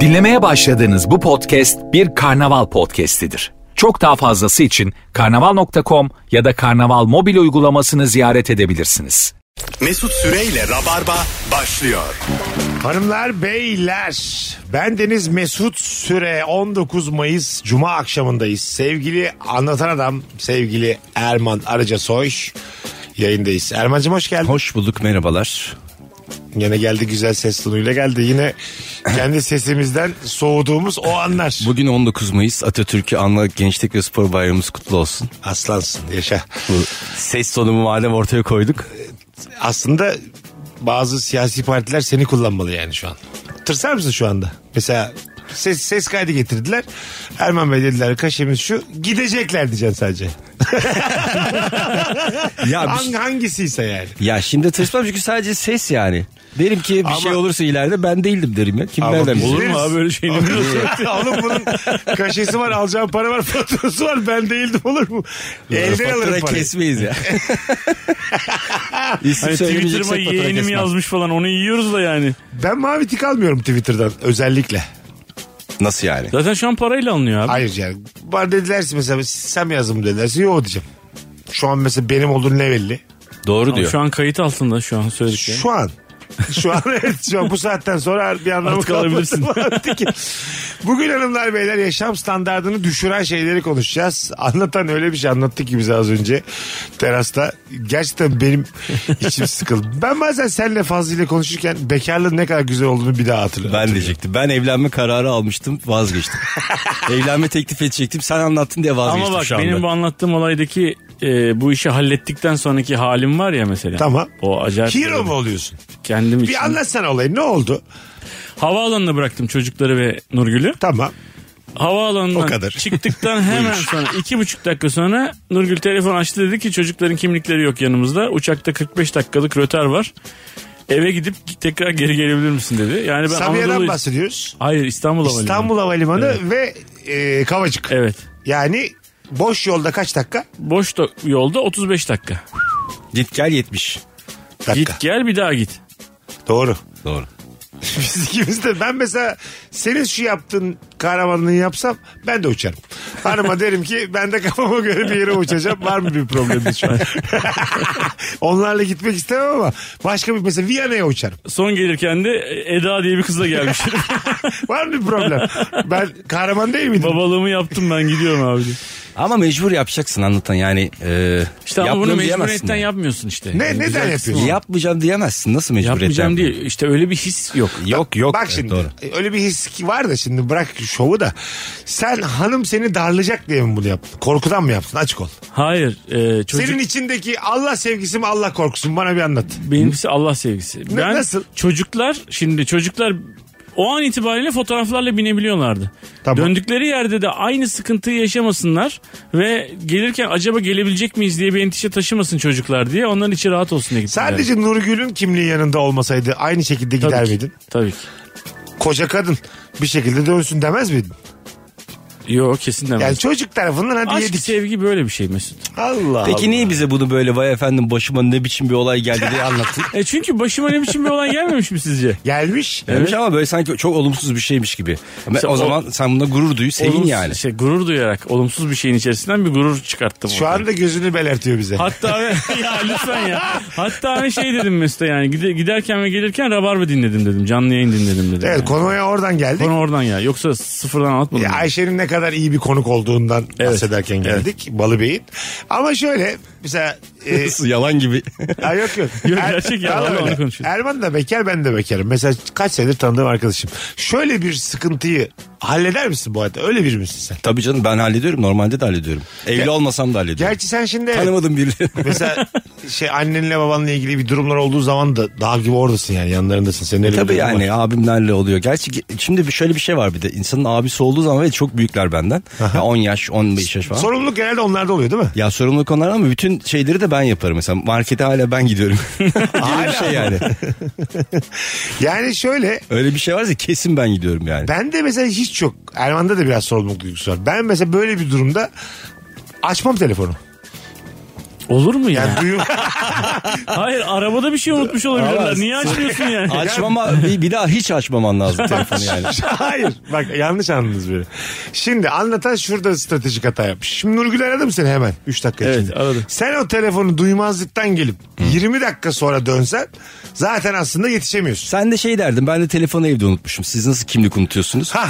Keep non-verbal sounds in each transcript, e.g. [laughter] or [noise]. Dinlemeye başladığınız bu podcast bir karnaval podcastidir. Çok daha fazlası için karnaval.com ya da karnaval mobil uygulamasını ziyaret edebilirsiniz. Mesut Süreyle Rabarba başlıyor. Hanımlar, beyler. Ben Deniz Mesut Süre. 19 Mayıs Cuma akşamındayız. Sevgili anlatan adam, sevgili Erman Arıca Soy yayındayız. Erman'cığım hoş geldin. Hoş bulduk merhabalar. Yine geldi güzel ses tonuyla geldi. Yine kendi sesimizden soğuduğumuz o anlar. Bugün 19 Mayıs Atatürk'ü anla Gençlik ve Spor Bayramımız kutlu olsun. Aslansın yaşa. Bu ses tonumu madem ortaya koyduk. Aslında bazı siyasi partiler seni kullanmalı yani şu an. Tırsar mısın şu anda? Mesela ses, ses kaydı getirdiler. Erman Bey dediler kaşemiz şu. Gidecekler diyeceksin sadece. Ya bir- şey- Hang- hangisiyse yani. ya şimdi tırsmam çünkü sadece ses yani. Derim ki bir Ama- şey olursa ileride ben değildim derim ya. Kim Ama nereden biz bilir? deriz. şey? Olur. [laughs] Hani [laughs] Oğlum bunun kaşesi var, alacağım para var, [laughs] faturası var. Ben değildim olur mu? Elden Fatura alırım parayı. kesmeyiz ya. İsim Hani söylemeyeceksek Twitter'ıma fatura yeğenim kesmem. yazmış falan onu yiyoruz da yani. Ben mavi tik almıyorum Twitter'dan özellikle. Nasıl yani? Zaten şu an parayla alınıyor abi. Hayır yani. Bana dedilerse mesela sen mi yazdın bunu dedilerse yok diyeceğim. Şu an mesela benim olduğum ne belli? Doğru Ama diyor. şu an kayıt altında şu an söyledikleri. Şu an. Şu an [laughs] evet şu an bu saatten sonra bir anlamı [laughs] Artık alabilirsin. kalmadı ki. Bugün hanımlar beyler yaşam standartını düşüren şeyleri konuşacağız. Anlatan öyle bir şey anlattı ki bize az önce terasta. Gerçekten benim [laughs] içim sıkıldı. Ben bazen seninle Fazlı ile konuşurken bekarlığın ne kadar güzel olduğunu bir daha hatırladım. Ben diyecektim. Ben evlenme kararı almıştım vazgeçtim. evlenme teklif edecektim. Sen anlattın diye vazgeçtim Ama bak şu anda. benim bu anlattığım olaydaki e, bu işi hallettikten sonraki halim var ya mesela. Tamam. O acayip. Hero mu oluyorsun? Kendim için. Bir anlatsana olayı ne oldu? Havaalanına bıraktım çocukları ve Nurgül'ü. Tamam. Havaalanından O kadar. [laughs] çıktıktan hemen sonra iki buçuk dakika sonra Nurgül telefon açtı dedi ki çocukların kimlikleri yok yanımızda. Uçakta 45 dakikalık röter var. Eve gidip tekrar geri gelebilir misin dedi. Yani ben Sabiha'dan Anadolu- bahsediyoruz. Hayır İstanbul Havalimanı. İstanbul Havalimanı ve e, Kavacık. Evet. Yani boş yolda kaç dakika? Boş da- yolda 35 dakika. Git gel 70. Dakika. Git gel bir daha git. Doğru. Doğru. [laughs] Biz ikimiz de ben mesela senin şu yaptığın kahramanlığı yapsam ben de uçarım. [laughs] Hanıma derim ki ben de kafama göre bir yere uçacağım. Var mı bir problemimiz [laughs] şu an? Onlarla gitmek istemem ama başka bir mesela Viyana'ya uçarım. Son gelirken de "E, Eda diye bir kızla [laughs] gelmiş. Var mı bir problem? Ben kahraman değil miydim? Babalığımı yaptım ben gidiyorum abi. diye. Ama mecbur yapacaksın anlatan yani. E, İşte ama bunu yapmıyorum diyemezsin mecburiyetten yani. yapmıyorsun işte. Ne, neden güzel yapıyorsun? kısmı o. Yapmayacağım diyemezsin. Nasıl mecburiyetten Yapmayacağım yapıyorsun? değil. İşte öyle bir his yok. Yok yok. Bak Evet, şimdi e, Doğru. öyle bir his ki var da şimdi bırak şovu da. Sen hanım seni darlayacak diye mi bunu yaptın? Korkudan mı yaptın? Açık ol. Hayır. E, çocuk, Senin içindeki Allah sevgisi mi Allah korkusu mu? Bana bir anlat. Benimkisi Allah Ne- sevgisi. ben nasıl? Çocuklar şimdi çocuklar o an itibariyle fotoğraflarla binebiliyorlardı. Tamam. Döndükleri yerde de aynı sıkıntıyı yaşamasınlar ve gelirken acaba gelebilecek miyiz diye bir endişe taşımasın çocuklar diye onların içi rahat olsun diye gittiler. Sadece Nurgül'ün kimliği yanında olmasaydı aynı şekilde Tabii gider ki, miydin? Tabii ki. Koca kadın bir şekilde dönsün demez miydin? Yok kesin demez. Yani çocuk tarafından hadi Aşk yedik. sevgi böyle bir şey Mesut. Allah Peki Allah. niye bize bunu böyle vay efendim başıma ne biçim bir olay geldi diye [laughs] anlattın? E çünkü başıma ne biçim bir olay gelmemiş mi sizce? Gelmiş. Demiş ama böyle sanki çok olumsuz bir şeymiş gibi. Ama İşte o o- zaman sen bunda gurur duy, sevin Olumsuz- [laughs] yani. Şey, gurur duyarak olumsuz bir şeyin içerisinden bir gurur çıkarttım. Şu ortaya. anda gözünü belertiyor bize. Hatta [laughs] ben- ya lütfen ya. Hatta ben şey dedim Mesut'a yani gide- giderken ve gelirken Rabarba dinledim dedim. Canlı yayın dinledim dedim. Evet yani. konuya oradan geldik. Konu oradan ya. Yoksa sıfırdan anlatmadım. Ya ben. Ayşe'nin ne kadar iyi bir konuk olduğundan Evet. bahsederken geldik. Balı Bey'in. Ama şöyle mesela... e, Yalan gibi. Ha, yok yok. [laughs] Yok, gerçek ya. Vallahi Vallahi öyle. onu konuşuyoruz. Erman da bekar ben de bekarım. Mesela kaç senedir tanıdığım arkadaşım. Şöyle bir sıkıntıyı halleder misin bu hayatta? Öyle bir misin sen? [laughs] Tabii canım ben hallediyorum. Normalde de hallediyorum. Evli olmasam da hallediyorum. Gerçi sen şimdi evet, Tanımadım [laughs] birileri. mesela şey annenle babanla ilgili bir durumlar olduğu zaman da dağ gibi oradasın yani yanlarındasın. Senin öyle bir [laughs] Tabii durum var. yani abimlerle oluyor. Gerçi ge- şimdi bir- şöyle bir şey var bir de. İnsanın abisi olduğu zaman ve çok büyükler benden. Ya 10 yaş, 15 yaş falan. Sorumluluk genelde onlarda oluyor değil mi? Ya sorumluluk onlar ama bütün şeyleri de ben yaparım. Mesela markete hala ben gidiyorum. Gibi bir şey yani. Yani şöyle Öyle bir şey varsa kesin ben gidiyorum yani. ben de mesela hiç yok. Erman'da da biraz sorumluluk duygusu var. Ben mesela böyle bir durumda açmam telefonu. Olur mu ya? Yani duyum. [laughs] Hayır arabada bir şey unutmuş olabilirler. Vallahi- Niye [laughs] açmıyorsun yani? Açmama bir, bir daha hiç açmaman lazım [laughs] telefonu yani. Hayır. Bak yanlış anladınız beni. Şimdi anlatan şurada stratejik hata yapmış. Şimdi Nurgül aradı mı seni hemen 3 dakika Evet, içinde? aradı. Sen o telefonu duymazlıktan gelip 20 dakika sonra dönsen zaten aslında yetişemiyorsun. Sen de şey derdin ben de telefonu evde unutmuşum. Siz nasıl kimlik unutuyorsunuz? Ha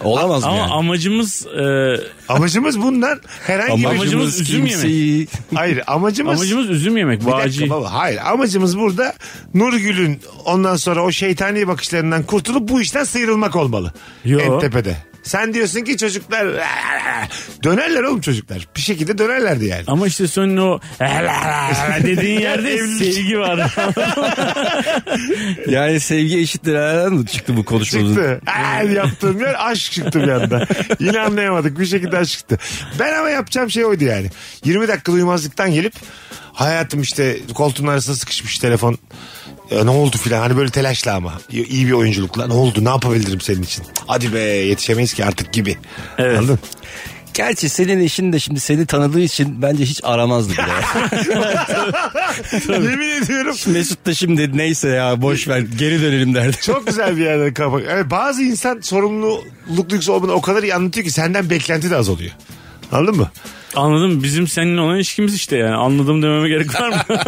Olamaz mı Ama yani? amacımız e, amacımız bundan herhangi bir... Amacımız üzüm yemek. kimseyi- Hayır amacımız... amacımız üzüm yemek. Bir dakika Vaci. baba. Hayır amacımız burada Nurgül'ün ondan sonra o şeytani bakışlarından kurtulup bu işten sıyrılmak olmalı. Yo. En tepede. Sen diyorsun ki çocuklar dönerler oğlum çocuklar. Bir şekilde dönerlerdi yani. Ama işte senin o [laughs] dediğin yerde Evlilik. sevgi var. [laughs] Yani sevgi eşittir herhalde çıktı bu konuşmamızın. Çıktı. Aa, yaptığım yer aşk çıktı bir anda. Yine anlayamadık. Bir şekilde aşk çıktı. Ben ama yapacağım şey oydu yani. 20 dakika duymazlıktan gelip hayatım işte koltuğun arasına sıkışmış telefon. E, ne oldu filan hani böyle telaşla ama İyi- iyi bir oyunculukla ne oldu ne yapabilirim senin için hadi be yetişemeyiz ki artık gibi evet. anladın Gerçi senin eşin de şimdi seni tanıdığı için bence hiç aramazdı bile. [laughs] yemin ediyorum Mesut da şimdi neyse ya boş ver geri dönelim derdi. çok güzel bir yerden kapak yani bazı insan sorumluluk duygusu olmadan o kadar iyi anlatıyor ki senden beklenti de az oluyor anladın mı Anladım. Bizim seninle olan ilişkimiz işte yani. Anladım dememe gerek var [laughs] mı?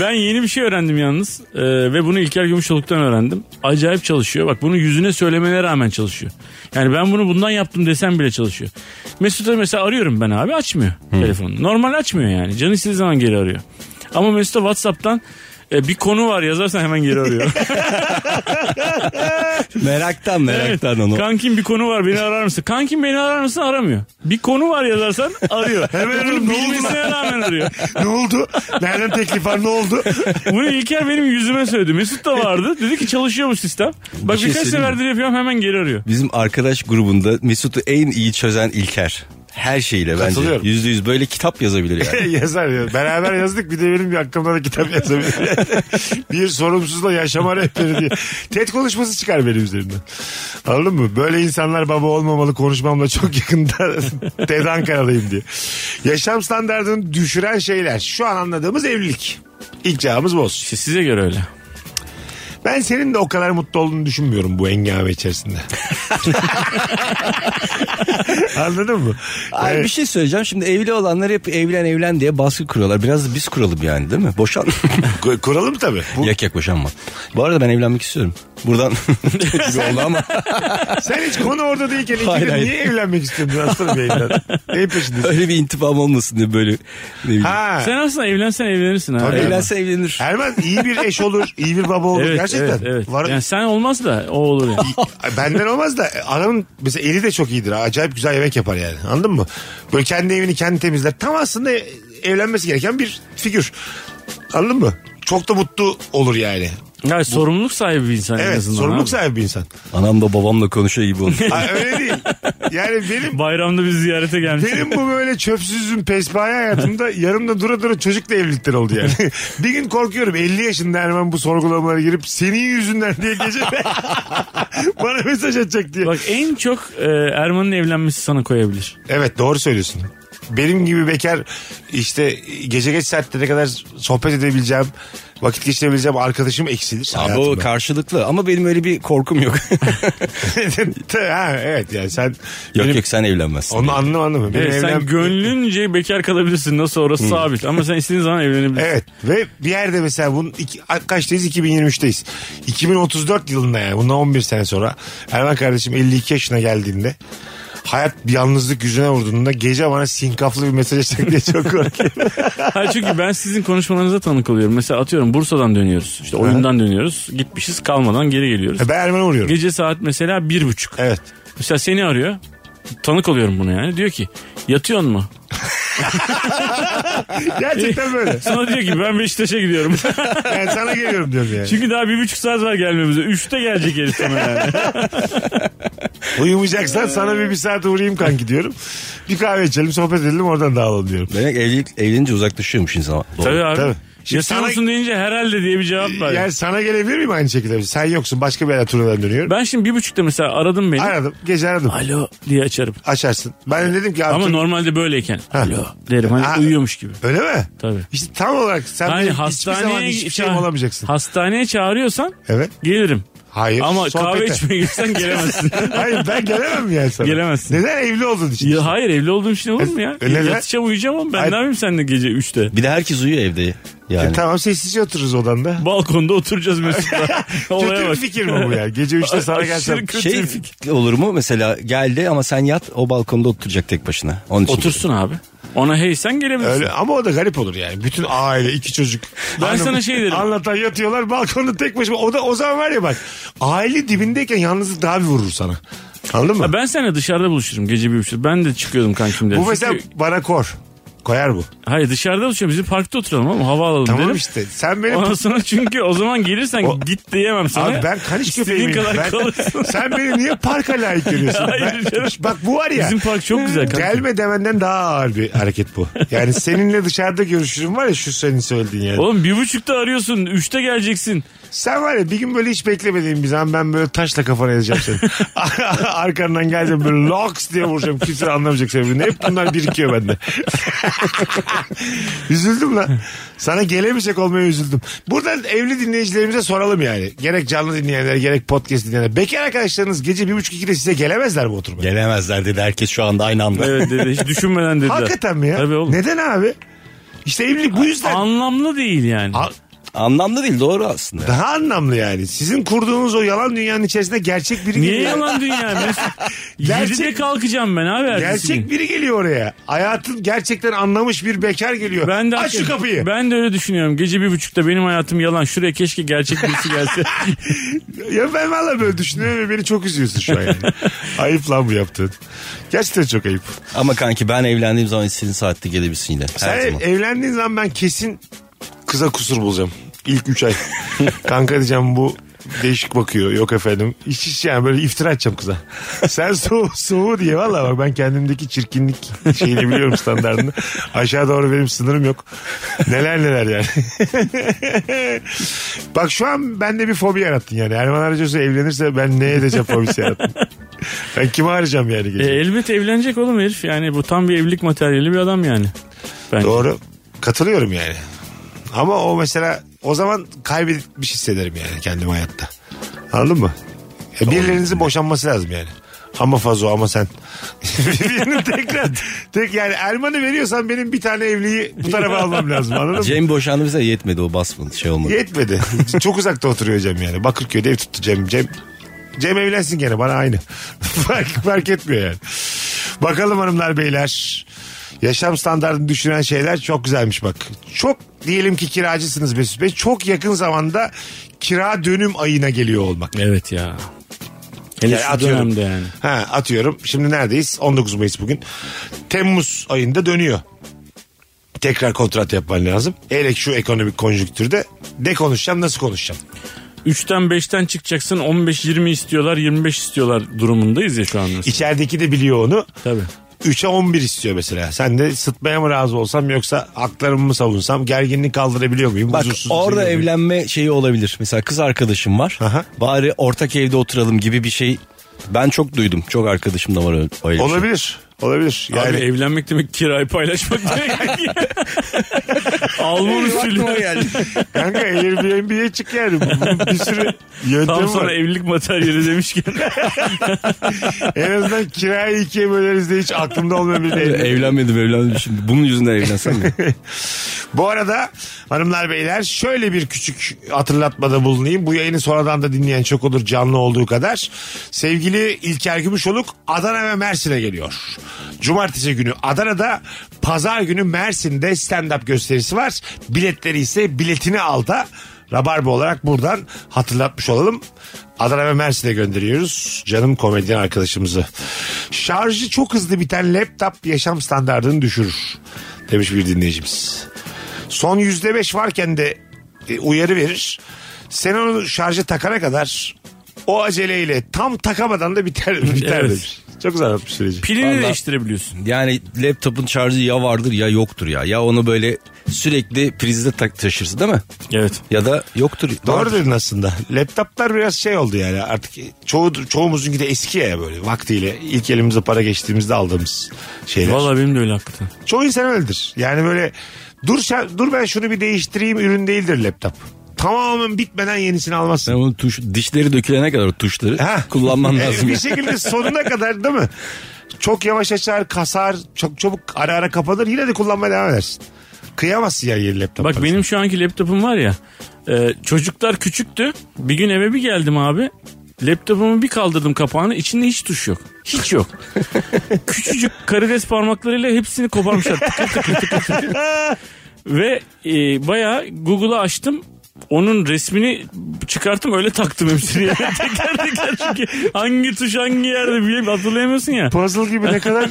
ben yeni bir şey öğrendim yalnız. Ee, ve bunu İlker Gümüşoluk'tan öğrendim. Acayip çalışıyor. Bak bunu yüzüne söylemene rağmen çalışıyor. Yani ben bunu bundan yaptım desem bile çalışıyor. Mesut'a mesela arıyorum ben abi açmıyor telefonu. Normal açmıyor yani. Canı istediği zaman geri arıyor. Ama Mesut'a Whatsapp'tan e, bir konu var yazarsan hemen [laughs] geri arıyor. Meraktan meraktan onu. Kankim bir konu var beni arar mısın? Kankim beni arar mısın aramıyor. Bir konu var yazarsan arıyor. Hemen Bunu arıyorum, ne oldu bilmesine rağmen arıyor. ne oldu nereden teklif var ne oldu Bunu İlker benim yüzüme söyledi. Mesut da vardı. Dedi ki çalışıyor bu sistem. Bak Bir şey birkaç söyleyeyim mi? seferdir yapıyorum hemen geri arıyor. Bizim arkadaş grubunda Mesut'u en iyi çözen İlker. Her şeyle bence. Katılıyorum. Yüzde yüz böyle kitap yazabilir [laughs] [laughs] yani. Yazar ya. Beraber yazdık bir de benim bir hakkımda da kitap yazabilir. [laughs] bir sorumsuzla yaşama rehberi diye. TED konuşması çıkar benim üzerimden. Anladın mı? Böyle insanlar baba olmamalı konuşmamla çok yakında [laughs] TED Ankara'dayım diye. Yaşam standartını düşüren şeyler. Şu an anladığımız evlilik. İlk cevabımız bu olsun. İşte size göre öyle. Ben senin de o kadar mutlu olduğunu düşünmüyorum bu engame [laughs] içerisinde. Anladın mı? Ee, Ay Evet. bir şey söyleyeceğim. Şimdi evli olanlar hep evlen evlen diye baskı kuruyorlar. Biraz da biz kuralım yani değil mi? Boşan. Ku- Kuralım tabii. [laughs] şey- Bu- yak yak boşanma. Bu arada ben evlenmek istiyorum. Buradan [laughs] gibi oldu [laughs] ama. Sen hiç konu orada değilken Hayır, ikide hayır. niye evlenmek istedin aslanım yayından? Neyin peşindesin? Öyle bir intifam olmasın diye böyle. Ne bileyim. Ha. Sen aslında evlensen evlenirsin ha. Tabii. Evet. Evlense evlenir. Erman iyi bir eş olur, iyi bir baba olur Evet, gerçekten. evet, evet. Var- Yani sen olmaz da o olur yani. [laughs] Ay, Benden olmaz da adamın mesela eli de çok iyidir. Acayip güzel yemek yapar yani. Anladın mı? Böyle kendi evini kendi temizler. Tam aslında evlenmesi gereken bir figür. Anladın mı? Çok da mutlu olur yani. yani sorumluluk sahibi bir insan en Evet, azından. sorumluluk abi. sahibi bir insan. Anam da babamla konuşuyor gibi [laughs] oldu. Ay, öyle değil. Yani benim Bayramda bir ziyarete gelmiş. Benim bu böyle çöpsüzüm pespaye hayatımda yarımda dura dura çocukla evlilikler oldu [laughs] yani. bir gün korkuyorum 50 yaşında Erman bu sorgulamalara girip senin yüzünden diye gece [laughs] bana mesaj atacak diye. Bak en çok e, Erman'ın evlenmesi sana koyabilir. Evet doğru söylüyorsun. Benim gibi bekar işte gece geç saatlere kadar sohbet edebileceğim, vakit geçirebileceğim arkadaşım eksilir Abi o hayatımda. karşılıklı ama benim öyle bir korkum yok. [laughs] ha, evet yani sen yok yok sen evlenmezsin. onu anlam anlamı. Benim Evet, evlen- Sen gönlünce bekar kalabilirsin. Nasıl orası sabit. Ama sen istediğin zaman evlenebilirsin. Evet ve bir yerde mesela bunun iki, kaçtayız 2023'teyiz. 2034 yılında yani bundan 11 sene sonra Erman kardeşim 52 yaşına geldiğinde hayat bir yalnızlık yüzüne vurduğunda gece bana sinkaflı bir mesaj açacak diye çok korkuyorum. Hayır çünkü ben sizin konuşmalarınıza tanık oluyorum. Mesela atıyorum Bursa'dan dönüyoruz. İşte oyundan dönüyoruz. Gitmişiz kalmadan geri geliyoruz. ben Erman'a vuruyorum. Gece saat mesela bir buçuk. Evet. Mesela seni arıyor. Tanık oluyorum buna yani. Diyor ki yatıyorsun mu? [laughs] Gerçekten böyle. Sana diyor ki ben [laughs] Beşiktaş'a gidiyorum. [laughs] Yani sana geliyorum diyorum yani. çünkü daha bir buçuk saat var gelmemize. Üçte gelecek herif sana yani. Uyumayacaksan sana bir, bir saat uğrayayım kanki diyorum. Bir kahve içelim sohbet edelim oradan dağılalım diyorum. Demek evlilik, evlenince uzaklaşıyormuş insan. Tabii abi. Tabii. Şimdi Yaşıyor sana- musun deyince herhalde diye bir cevap var. Yani sana gelebilir miyim aynı şekilde? Sen yoksun başka bir yere turnadan dönüyorum. Ben şimdi bir buçukta mesela aradım beni. Aradım gece aradım. Alo diye açarım. Açarsın. Ben de dedim ki abi. Ama tur- normalde böyleyken alo derim Ha. hani uyuyormuş gibi. Öyle mi? Tabii. İşte tam olarak sen Hani benim hiçbir zaman hastaneye hiçbir şey ça- olamayacaksın. Hastaneye çağırıyorsan Evet. gelirim. Hayır. Ama sohbete. kahve içmeye gitsen gelemezsin. [laughs] Hayır ben gelemem yani sana. Gelemezsin. Neden evli olduğun için? ya hayır evli olduğum için olur mu ya? E, neden? Yatacağım uyuyacağım ama ben Hayır. ne yapayım seninle gece 3'te? Bir de herkes uyuyor evde. E, Yani. tamam sessizce otururuz odanda. Balkonda oturacağız Mesut'la. [laughs] Kötü [laughs] Olaya bir bak. fikir mi bu ya? Gece 3'te [laughs] sana Aşırı gelsem. kötü şey bir fikir. olur mu mesela geldi ama sen yat o balkonda oturacak tek başına. Onun için. Otursun abi. Ona hey sen gelebilirsin. Öyle, ama o da garip olur yani. Bütün aile, iki çocuk. Ben sana şey derim. Anlatan yatıyorlar balkonda tek başıma. O da o zaman var ya bak. Aile dibindeyken yalnızlık daha bir vurur sana. Anladın mı? Ha, ben seninle dışarıda buluşurum gece bir buçukta. Ben de çıkıyordum kankim derim. bu mesela Çünkü- bana kor. Koyar bu. hayır dışarıda buluşuyorum. Bizim parkta oturalım ama hava alalım Tamam derim. işte. Sen benim Ondan sonra çünkü o zaman gelirsen O- git diyemem sana. Abi ben kaniş İstediğin köpeğim. kadar Ben- kalırsın. Sen beni niye parka layık [laughs] görüyorsun? Hayır Ben- canım. bak bu var ya. Bizim park çok güzel kanka. Gelme demenden daha ağır bir hareket bu. Yani seninle dışarıda görüşürüm var ya şu senin söylediğin yani. Oğlum bir buçukta arıyorsun. Üçte geleceksin. Sen var ya bir gün böyle hiç beklemediğim bir zaman ben böyle taşla kafana yazacağım seni. [laughs] Arkandan geleceğim böyle locks diye vuracağım. Kimse anlamayacak sebebini. Hep bunlar birikiyor bende. [laughs] üzüldüm lan. Sana gelemeyecek olmaya üzüldüm. Buradan evli dinleyicilerimize soralım yani. Gerek canlı dinleyenler gerek podcast dinleyenler. Bekar arkadaşlarınız gece 1.30-2'de size gelemezler mi oturmaya? Gelemezler dedi herkes şu anda aynı anda. Evet dedi. Hiç düşünmeden dediler. Hakikaten mi ya? Tabii oğlum. Neden abi? İşte evlilik bu yüzden. Anlamlı değil yani. A- Anlamlı değil doğru aslında. daha anlamlı yani. Sizin kurduğunuz o yalan dünyanın içerisinde gerçek biri Niye geliyor. yalan dünya? Mesut? Gerçek- Yedide kalkacağım ben abi. ertesi gün. Gerçek biri geliyor oraya. Hayatın gerçekten anlamış bir bekar geliyor. Ben de Aç şu hakikaten- kapıyı. Ben de öyle düşünüyorum. Gece bir buçukta benim hayatım yalan. Şuraya keşke gerçek birisi gelse. Ya ben valla böyle düşünüyorum ve beni çok üzüyorsun şu [laughs] an yani. ayıp lan bu yaptığın. Gerçekten çok ayıp. Ama kanki ben evlendiğim zaman istediğin saatte gelebilirsin yine. Her Sen zaman. evlendiğin zaman ben kesin kıza kusur bulacağım. İlk 3 [laughs] ay. Kanka diyeceğim bu değişik bakıyor. Yok efendim. Hiç hiç yani böyle iftira edeceğim [laughs] kıza. Sen soğu soğu diye valla bak ben kendimdeki çirkinlik şeyini biliyorum standartını. Aşağı doğru benim sınırım yok. Neler neler yani. [laughs] bak şu an bende bir fobi yarattın yani. Erman Aracası evlenirse ben ne edeceğim fobisi yarattın. Ben kimi arayacağım yani e, Ee, gece? elbet evlenecek oğlum herif. Yani bu tam bir evlilik materyali bir adam yani. Bence. Doğru. Katılıyorum yani. Ama o mesela o zaman kaybetmiş hissederim yani kendimi hayatta. Anladın mı? Ya birilerinizin boşanması lazım yani. Ama Fazo ama sen. [laughs] Birini tekrar tek yani Erman'ı veriyorsan benim bir tane evliliği bu tarafa almam lazım anladın mı? Cem boşandı bize yetmedi o basmadı şey olmadı. Yetmedi. [laughs] Çok uzakta oturuyor Cem yani. Bakırköy'de ev tuttu Cem. Cem, Cem evlensin gene bana aynı. [laughs] fark, fark etmiyor yani. Bakalım hanımlar beyler. Yaşam standartını düşüren şeyler çok güzelmiş bak. Çok diyelim ki kiracısınız Mesut Bey. Çok yakın zamanda kira dönüm ayına geliyor olmak. Evet ya. Hele Yani şu atıyorum. dönemde yani. Ha, atıyorum. Şimdi neredeyiz? 19 Mayıs bugün. Temmuz ayında dönüyor. Tekrar kontrat yapman lazım. Hele ki şu ekonomik konjüktürde de konuşacağım nasıl konuşacağım. 3'ten 5'ten çıkacaksın 15-20 istiyorlar 25 istiyorlar durumundayız ya şu an mesela. İçerideki de biliyor onu. Tabii. 3'e 11 istiyor mesela. Sen de sıtmaya mı razı olsam yoksa haklarımı mı savunsam gerginlik kaldırabiliyor muyum? Bak Huzursuzluğu orada seviyor muyum? evlenme şeyi olabilir. Mesela kız arkadaşım var. Aha. Bari ortak evde oturalım gibi bir şey. Ben çok duydum. Çok arkadaşım da var öyle, öyle bir şey. Olabilir. Olabilir. Yani Abi evlenmek demek kirayı paylaşmak demek. Alman usulü. Aklıma geldi. kanka Airbnb'ye çık yani. Bunun bir sürü Tam yöntemi var. sonra evlilik materyali demişken. En azından kirayı ikiye böleriz de hiç aklımda olmayan bir evlilik. Evlenmedim evlenmedim şimdi. Bunun yüzünden evlensem mi? Bu arada hanımlar beyler şöyle bir küçük hatırlatmada bulunayım. Bu yayını sonradan da dinleyen çok olur canlı olduğu kadar. Sevgili İlker Gümüşoluk Adana ve Mersin'e geliyor. Cumartesi günü Adana'da, pazar günü Mersin'de stand-up gösterisi var. Biletleri ise biletini al da Rabarba olarak buradan hatırlatmış olalım. Adana ve Mersin'e gönderiyoruz canım komedyen arkadaşımızı. Şarjı çok hızlı biten laptop yaşam standartını düşürür demiş bir dinleyicimiz. Son yüzde beş varken de e, uyarı verir. Sen [laughs] onu şarja takana kadar o aceleyle tam takamadan da biter, biter Evet. demiş. Çok güzel anlatmış süreci. Pilini Vallahi- değiştirebiliyorsun. Yani laptopun şarjı ya vardır ya yoktur ya. Ya onu böyle sürekli prizde tak taşırsın değil mi? Evet. Ya da yoktur. Doğru Vardır. dedin aslında. Laptoplar biraz şey oldu yani artık çoğu, çoğumuzunki de eski ya böyle vaktiyle ilk elimize para geçtiğimizde aldığımız şeyler. Vallahi benim de öyle hakikaten. Çoğu insan öyledir. Yani böyle dur şa- dur ben şunu bir değiştireyim ürün değildir laptop. Tamamen bitmeden yenisini Sen almazsın. onun tuş, dişleri dökülene kadar o tuşları Ha. [laughs] kullanman E, lazım. bir ya. şekilde sonuna kadar değil mi? Çok yavaş açar, kasar, çok çabuk ara ara kapanır yine de kullanmaya devam edersin. Kıyamazsın ya yeni laptop. Bak parasını. benim şu anki laptopum var ya. e, çocuklar küçüktü. Bir gün eve bir geldim abi. Laptopumu bir kaldırdım kapağını. içinde hiç tuş yok. [laughs] Hiç yok. Küçücük karides parmaklarıyla hepsini koparmışlar. Tıkır tıkır tıkır tıkır. Ve e, bayağı Google'ı açtım. Onun resmini çıkarttım öyle taktım hepsini. [laughs] Yani teker teker çünkü hangi tuş hangi yerde bir şey hatırlayamıyorsun ya. Puzzle gibi ne [laughs] kadar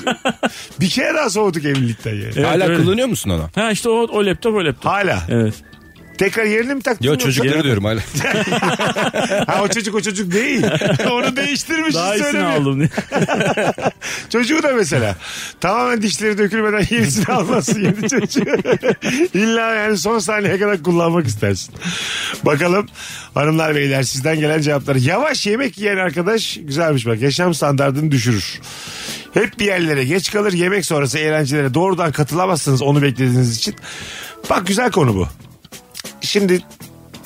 bir kere daha soğuduk evlilikten yani. Evet, Hala öyle. kullanıyor musun onu? Ha işte o, o laptop o laptop. Hala. Evet. Tekrar yerini mi taktın? Yo yoksa- çocukları [laughs] diyorum hala. Ha o çocuk o çocuk [laughs] değil. Onu değiştirmişiz Daha iyisini söylemiyor. aldım diye. Çocuğu da mesela. Tamamen dişleri dökülmeden [laughs] yenisini almasın yeni çocuğu. İlla yani son saniyeye kadar kullanmak istersin. Bakalım hanımlar beyler sizden gelen cevaplar. Yavaş yemek yiyen arkadaş güzelmiş bak yaşam standartını düşürür. Hep bir yerlere geç kalır yemek sonrası eğlencelere doğrudan katılamazsınız onu beklediğiniz için. Bak güzel konu bu. Şimdi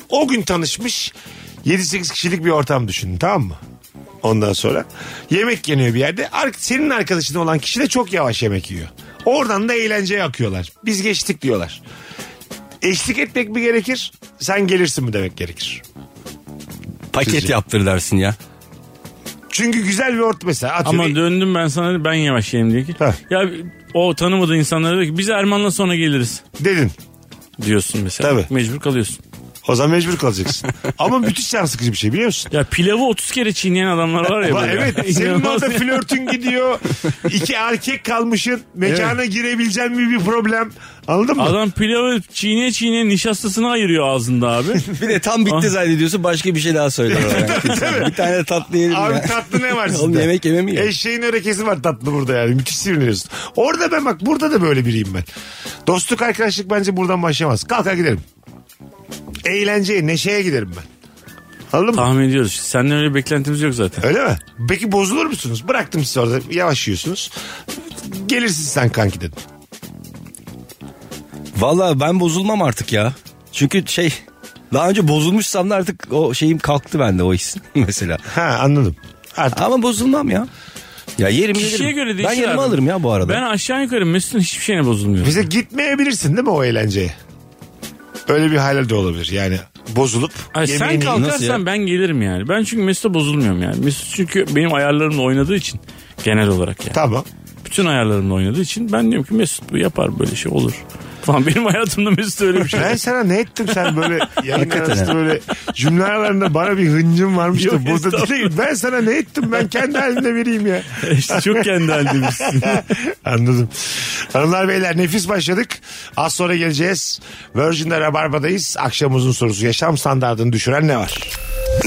o gün tanışmış 7-8 kişilik bir ortam düşünün tamam mı? Ondan sonra yemek yeniyor bir yerde. Ar- Senin arkadaşın olan kişi de çok yavaş yemek yiyor. Oradan da eğlenceye akıyorlar. Biz geçtik diyorlar. Eşlik etmek mi gerekir? Sen gelirsin mi demek gerekir? Paket Sizce? yaptır dersin ya. Çünkü güzel bir ort mesela. Atıyorum. [laughs] Ama döndüm ben sana ben yavaş yerim diye ki. Heh. Ya o tanımadığı insanlara diyor ki biz Erman'la sonra geliriz dedin. diyorsun mesela. Tabii. Mecbur kalıyorsun. O zaman mecbur [laughs] kalacaksın. Ama müthiş can sıkıcı bir şey biliyor musun? Ya pilavı 30 kere çiğneyen adamlar var ya. Ba- böyle. [laughs] evet senin İnanılmaz orada ya. flörtün gidiyor. İki erkek kalmışın. Mekana girebileceğin mi bir problem. Anladın mı? Adam pilavı çiğneye çiğneye nişastasını ayırıyor ağzında abi. Bir de tam bitti Ah. zannediyorsun başka bir şey daha söyler. [laughs] o yani. bir tane tatlı yerim Abi ya. tatlı ne var sizde? [laughs] Oğlum yemek yeme mi ya? Eşeğin örekesi var tatlı burada yani. Müthiş sinirleniyorsun. Orada ben bak burada da böyle biriyim ben. Dostluk arkadaşlık bence buradan başlamaz. Kalkar giderim. Eğlenceye, neşeye giderim ben. Anladın mı? Tahmin ediyoruz. Senden öyle beklentimiz yok zaten. Öyle mi? Peki bozulur musunuz? Bıraktım sizi orada yavaş yiyorsunuz. Gelirsin sen kanki dedim. Valla ben bozulmam artık ya. Çünkü şey daha önce bozulmuşsam da artık o şeyim kalktı bende o his [laughs] mesela. Ha anladım. Artık Ama bozulmam ya. Ya yerim Kişiye yerim. göre değişir ben yerimi abi. alırım ya bu arada. Ben aşağı yukarı Mesut'un hiçbir şeyine bozulmuyor. bize gitmeyebilirsin değil mi o eğlenceye? Öyle bir hal de olabilir. Yani bozulup Ay, sen yemeğini- Nasıl kalkarsan ya? ben gelirim yani. Ben çünkü Mesut'a bozulmuyorum yani. Mesut çünkü benim ayarlarımla oynadığı için genel olarak yani. Tamam. bütün ayarlarımla oynadığı için ben diyorum ki Mesut bu yapar böyle şey olur. Falan benim hayatımda Mesut öyle bir şey. [laughs] Ben sana ne ettim sen böyle yayın Hakikaten arasında ha. böyle cümle aralarında bana bir hıncım varmış Yok, da burada değil. Ben sana ne ettim ben kendi halimde biriyim [laughs] ya. işte çok kendi halindeymişsin. Anladım. Hanımlar beyler nefis başladık. Az sonra geleceğiz. Virgin'de Rabarba'dayız. Akşamımızın sorusu yaşam standartını düşüren ne var?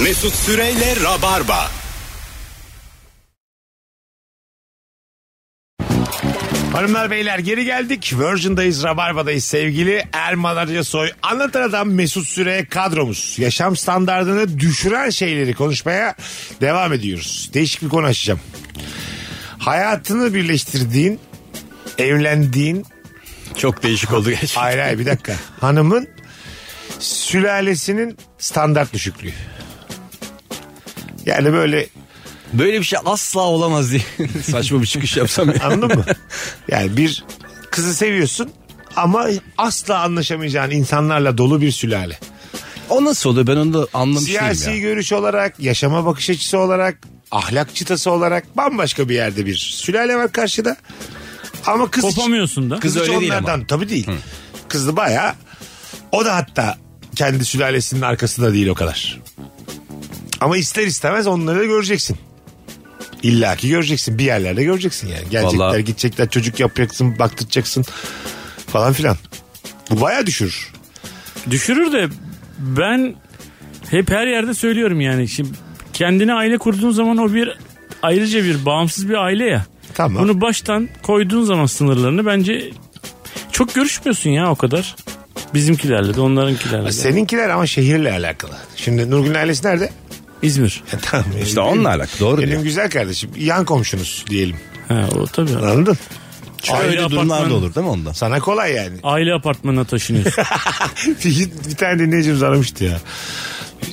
Mesut Süreyle Rabarba. Hanımlar beyler geri geldik. Virgin'dayız, Rabarba'dayız sevgili Erman Arıcasoy. Anlatan Adam Mesut Süre kadromuz. Yaşam standartını düşüren şeyleri konuşmaya devam ediyoruz. Değişik bir konu açacağım. Hayatını birleştirdiğin, evlendiğin, Çok değişik oldu [laughs] gerçekten. hayır hayır bir dakika. Hanımın sülalesinin standart düşüklüğü. Yani böyle Böyle bir şey asla olamaz diye [laughs] saçma bir çıkış yapsam ya. Anladın mı? Yani bir kızı seviyorsun ama asla anlaşamayacağın insanlarla dolu bir sülale. [laughs] O nasıl oluyor ben onu da anlamış Siyasi değilim ya. görüş olarak, yaşama bakış açısı olarak, ahlak çıtası olarak bambaşka bir yerde bir sülale var karşıda. Ama kız hiç- Kopamıyorsun da. Kız, Kız hiç öyle değil ama. onlardan tabii değil. Kızı baya o da hatta kendi sülalesinin arkasında değil o kadar. Ama ister istemez onları da göreceksin. İlla ki göreceksin. Bir yerlerde göreceksin yani. Gelecekler, Vallahi- gidecekler, çocuk yapacaksın, baktıracaksın falan filan. Bu baya düşürür. Düşürür de ben hep her yerde söylüyorum yani. Şimdi kendine aile kurduğun zaman o bir ayrıca bir bağımsız bir aile ya. Tamam. Bunu baştan koyduğun zaman sınırlarını bence çok görüşmüyorsun ya o kadar. Bizimkilerle de onlarınkilerle de. Seninkiler ama şehirle alakalı. Şimdi Nurgül ailesi nerede? İzmir. E, tamam. İşte onunla alakalı doğru Benim diyor. güzel kardeşim. Yan komşunuz diyelim. Ha, o tabii. Anladın? Çünkü öyle Aile durumlar da apartmanı- olur değil mi onda? Sana kolay yani. Aile apartmanına taşınıyorsun. [laughs] bir bir tane dinleyicimiz aramıştı ya.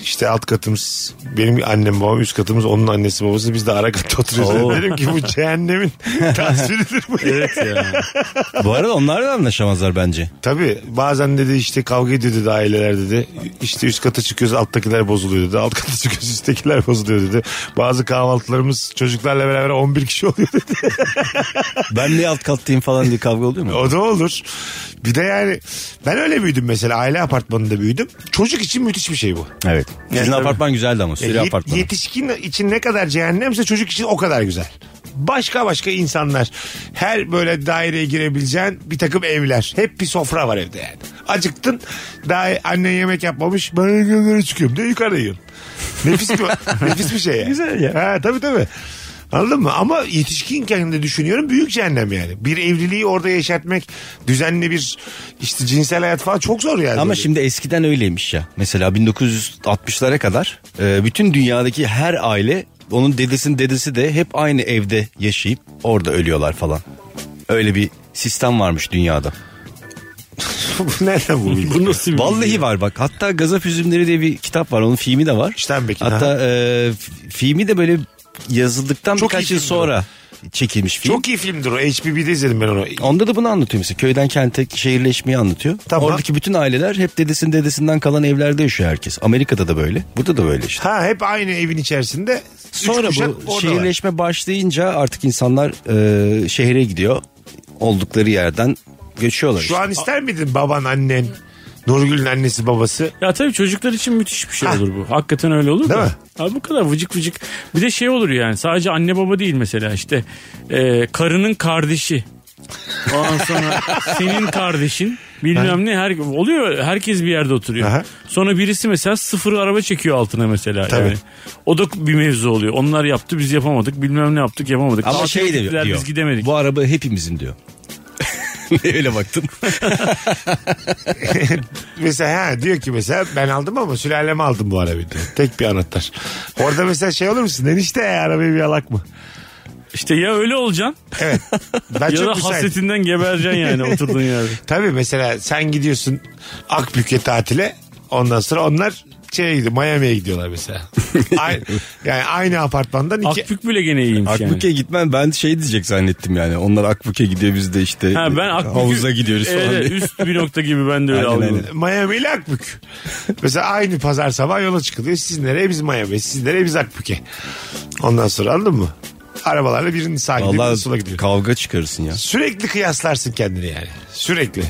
İşte alt katımız benim annem babam üst katımız onun annesi babası biz de ara katta oturuyoruz. Oo. Dedim [laughs] ki bu cehennemin tasviridir bu. evet ya. Bu arada onlar da anlaşamazlar bence. [laughs] Tabii bazen dedi işte kavga ediyor dedi aileler dedi. İşte üst kata çıkıyoruz alttakiler bozuluyor dedi. Alt kata çıkıyoruz üsttekiler bozuluyor dedi. Bazı kahvaltılarımız çocuklarla beraber 11 kişi oluyor dedi. Ben niye alt kattayım falan diye kavga oluyor mu? O da olur. Bir de yani ben öyle büyüdüm mesela aile apartmanında büyüdüm. Çocuk için müthiş bir şey bu. Evet. Sizin tabii. apartman güzeldi ama E, sürü yet- apartmanı. Yetişkin için ne kadar cehennemse çocuk için o kadar güzel. Başka başka insanlar. Her böyle daireye girebileceğin bir takım evler. Hep bir sofra var evde yani. Acıktın daha annen yemek yapmamış. Ben yukarı çıkıyorum diye yukarı yiyorsun. Nefis [laughs] bir, nefis bir şey yani. Güzel ya. Ha, tabii tabii. Anladın mı? Ama yetişkinken de düşünüyorum büyük cehennem yani. Bir evliliği orada yaşatmak, düzenli bir işte cinsel hayat falan çok zor yani. Ama şimdi eskiden öyleymiş ya. Mesela 1960'lara kadar e, bütün dünyadaki her aile onun dedesinin dedesi de hep aynı evde yaşayıp orada ölüyorlar falan. Öyle bir sistem varmış dünyada. Bu [laughs] nereden bu [laughs] bilgi? Bu nasıl bir Vallahi var bak. Hatta Gazap Üzümleri diye bir kitap var. Onun filmi de var. Steinbeck'in, Hatta e, f- filmi de böyle yazıldıktan Çok iyi birkaç yıl filmdi sonra çekilmiş film. Çok iyi filmdir o. HBB'de izledim ben onu. Onda da bunu anlatıyor mesela. Köyden kente şehirleşmeyi anlatıyor. Tamam. Oradaki bütün aileler hep dedesinin dedesinden kalan evlerde yaşıyor herkes. Amerika'da da böyle. Burada da böyle işte. Ha hep aynı evin içerisinde. Üç Sonra kuşak bu oradalar. şehirleşme başlayınca artık insanlar e, şehre gidiyor. Oldukları yerden göçüyorlar. Şu an ister miydin baban annen? Nurgül'ün annesi babası. Ya tabii çocuklar için müthiş bir şey olur bu. Hakikaten öyle olur Değil da. mi? Abi bu kadar vıcık vıcık. Bir de şey olur yani sadece anne baba değil mesela işte e, karının kardeşi. Ondan [laughs] sonra senin kardeşin bilmem ne her, oluyor herkes bir yerde oturuyor. Aha. Sonra birisi mesela sıfır araba çekiyor altına mesela. Tabii. Yani. O da bir mevzu oluyor. Onlar yaptı biz yapamadık bilmem ne yaptık yapamadık. Ama Tatile şey de gittiler, diyor. Biz gidemedik. Bu araba hepimizin diyor. [laughs] Öyle [laughs] baktım. Mesela ha, diyor ki mesela ben aldım ama sülaleme aldım bu arabayı diyor. Tek bir anahtar. Orada mesela şey olur musun? Enişte ya, arabayı bir alak mı? İşte ya öyle olacaksın Evet. [laughs] Ben ya da çok müsaitim. hasretinden [laughs] gebereceksin yani oturduğun yerde. Tabii mesela sen gidiyorsun Akbük'e tatile. Ondan sonra onlar şeye gidiyor Miami'ye gidiyorlar mesela. Ay- yani aynı apartmandan iki... Akbük bile gene iyiymiş yani. Akbük'e gitmen ben şey diyecek zannettim yani. Onlar Akbük'e gidiyor biz de işte Ha ben Akbük'ü- havuza gidiyoruz falan. Evet, diye. üst bir nokta gibi ben de öyle Aynen, algıladım. aynen. Miami ile Akbük. Mesela aynı pazar sabah yola çıkılıyor. Siz nereye biz Miami, siz nereye biz Akbük'e. Ondan sonra anladın mı? Arabalarla birinin sağa gidiyor, birinin sola Vallahi gidiyor. kavga çıkarırsın ya. Sürekli kıyaslarsın kendini yani. Sürekli.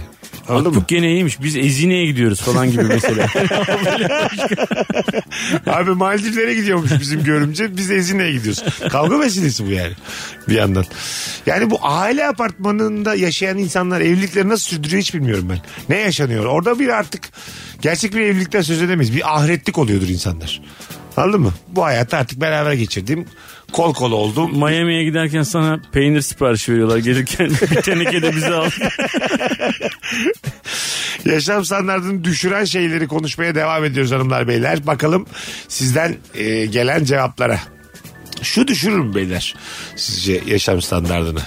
Anladın mı? Akbük gene iyiymiş. Biz Ezine'ye gidiyoruz falan gibi mesela. Abi Maldivlere gidiyormuş bizim görümce. Biz Ezine'ye gidiyoruz. Kavga meselesi bu yani. Bir yandan. Yani bu aile apartmanında yaşayan insanlar evlilikleri nasıl sürdürüyor hiç bilmiyorum ben. Ne yaşanıyor? Orada bir artık gerçek bir evlilikten söz edemeyiz. Bir ahretlik oluyordur insanlar. Anladın mı? Bu hayatı artık beraber geçirdiğim kol kola olduğum Miami'ye giderken sana peynir siparişi veriyorlar gelirken. [laughs] Bir teneke de bize al. yaşam standartını düşüren şeyleri konuşmaya devam ediyoruz hanımlar beyler. Bakalım sizden e, gelen cevaplara. Şu düşürür mü beyler sizce yaşam standartını?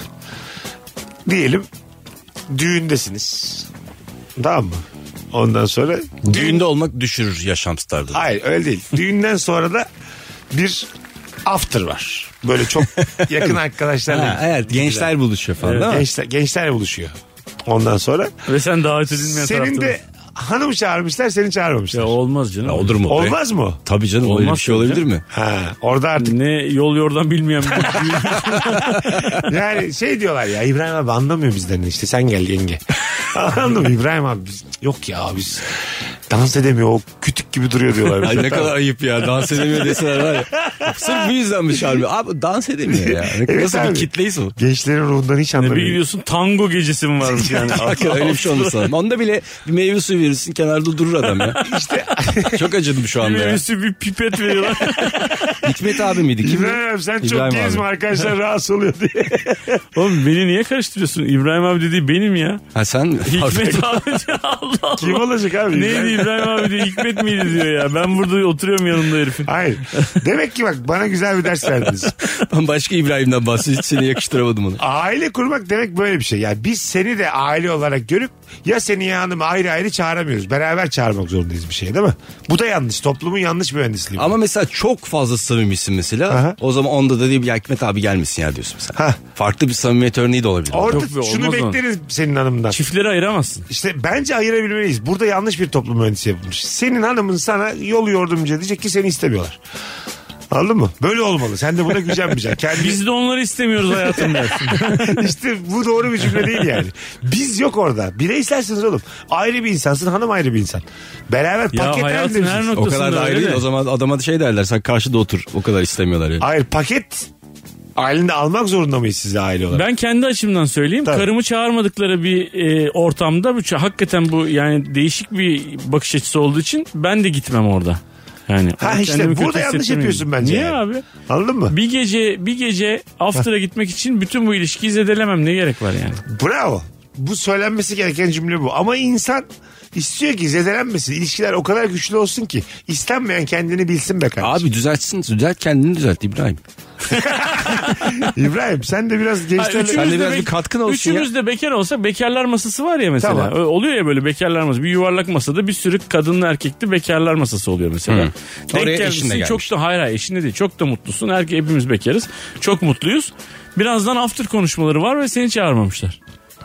Diyelim düğündesiniz. Tamam mı? Ondan sonra Düğünde olmak düşürür yaşam standartını. Hayır öyle değil. Düğünden sonra da bir after var. Böyle [laughs] çok yakın arkadaşlarla. Ha, evet gençler buluşuyor falan değil mi? Gençler, gençler buluşuyor. Ondan sonra Ve sen davet edilmeyen senin de taraftasın. hanım çağırmışlar seni çağırmamışlar. Ya olmaz canım. Ya olur mu? Be? Olmaz mı? Tabii canım öyle bir Olmaz şey tabii olabilir canım. mi? Ha, orada [laughs] artık Ne yol yordan bilmeyen bir [laughs] yani şey diyorlar ya İbrahim abi anlamıyor bizden işte sen gel yenge. Anladın mı İbrahim abi biz, yok ya biz dans edemiyor o kütük gibi duruyor diyorlar. Ay bize. ne kadar ayıp ya dans edemiyor deseler var ya. Sırf bu yüzden mi çağırmıyor? Abi dans edemiyor ya. Ne- Evet Nasıl abi. bir kitleyiz bu? Gençlerin ruhundan hiç bir anlamıyor. gidiyorsun tango gecesi mi varmış yani? Hakikaten öyle bir şey olmuş sanırım. Onda bile bir meyve suyu verirsin kenarda durur adam ya. İşte. Çok acıdım şu anda ya. Birisi bir pipet veriyorlar. Hikmet abi miydi? Kimdi? İbrahim abi sen çok İbrahim abi. gezme arkadaşlar rahatsız oluyor diye. Oğlum beni niye karıştırıyorsun? İbrahim abi dediği benim ya. Ha sen Hikmet abi diyor. [laughs] Allah Allah. Kim olacak abi? Neydi İbrahim abi diyor. Hikmet miydi diyor ya. Ben burada oturuyorum yanımda herifin. Hayır. Demek ki bak bana güzel bir ders verdiniz. ben başka İbrahim'den bahsediyorum. Hiç seni yakıştıramadım ona. aile kurmak demek böyle bir şey. Yani biz seni de aile olarak görüp ya seni ya hanımı ayrı ayrı çağıramıyoruz. Beraber çağırmak zorundayız bir şey değil mi? Bu da yanlış. Toplumun yanlış mühendisliği. bu. Ama mesela çok fazla samimisin mesela. Aha. O zaman onda da değil ya Hikmet abi gelmesin ya diyorsun mesela. Ha. Farklı bir samimiyet örneği de olabilir. Orada Yok be, şunu olmaz o. bekleriz senin hanımdan. Çiftleri ayıramazsın. İşte bence ayırabilmeliyiz. Burada yanlış bir toplum mühendisi yapılmış. Senin hanımın sana yol yordamcı diyecek ki seni istemiyorlar. Anladın mı? Böyle olmalı. Sen de buna [laughs] gücenmeyeceksin. Kendi [laughs] Biz de onları istemiyoruz hayatım dersin. işte bu doğru bir cümle değil yani. Biz yok orada. Bireyselsiniz oğlum. Ayrı bir insansın, hanım ayrı bir insan. Beraber ya paket hayatın her halinde noktasında o kadar da öyle ayrı değil. de. O zaman adama şey derler sen karşıda otur. O kadar istemiyorlar yani. Hayır paket halinde almak zorunda mıyız size aile olarak? Ben kendi açımdan söyleyeyim. Tabii. Karımı çağırmadıkları bir e, ortamda bu hakikaten bu yani değişik bir bakış açısı olduğu için ben de gitmem orada. Yani ha kendimi işte kötü burada yanlış hissettirmeyeyim. yapıyorsun bence. Niye yani. abi? Anladın mı? Bir gece bir gece after'a gitmek için bütün bu ilişkiyi zedelemem ne gerek var yani? Bravo. Bu söylenmesi gereken cümle bu. Ama insan istiyor ki zedelenmesin. İlişkiler o kadar güçlü olsun ki istenmeyen kendini bilsin be kardeşim. Abi düzeltsin. Düzelt kendini düzelt İbrahim. İbrahim sen de biraz Ay, üçümüz gençlerle... Sen de biraz bek- bir katkın olsun üçümüz de bekar olsa bekarlar masası var ya mesela. Tamam. Ö- Oluyor ya böyle bekarlar masası. Bir yuvarlak masada bir sürü kadınla erkekli bekarlar masası oluyor mesela. Denk Oraya gelmişsin, eşinle Çok da hayır hayır eşinle değil. Çok da mutlusun. Erkek hepimiz bekarız. Çok mutluyuz. Birazdan after konuşmaları var ve seni çağırmamışlar.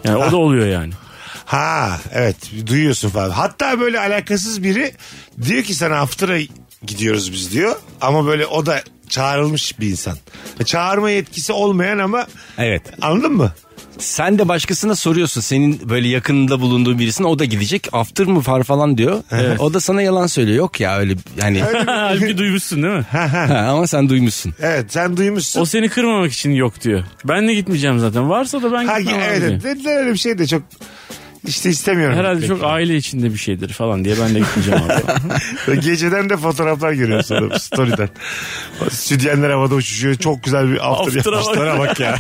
Yani o da oluyor yani. [laughs] Ha evet duyuyorsun falan. Hatta böyle alakasız biri diyor ki sana after'a gidiyoruz biz diyor. Ama böyle o da çağrılmış bir insan. E, Çağırma yetkisi olmayan ama Evet. anladın mı? Sen de başkasına soruyorsun. Senin böyle yakınında bulunduğun birisine o da gidecek. After mı far falan diyor. O da sana yalan söylüyor. Yok ya öyle yani. [laughs] Halbuki duymuşsun değil mi? Ha, ama sen duymuşsun. Evet sen duymuşsun. O seni kırmamak için yok diyor. Ben de gitmeyeceğim zaten. Varsa da ben ha, gitmem. abi evet, diyor. evet dediler öyle bir şey de çok işte istemiyorum. Herhalde çok aile içinde bir şeydir falan diye ben de gitmeyeceğim [laughs] abi. Ve Geceden de fotoğraflar görüyorsun adam story'den. Sütyenler havada uçuşuyor. Çok güzel bir after After'a bak. yapmışlara bak ya.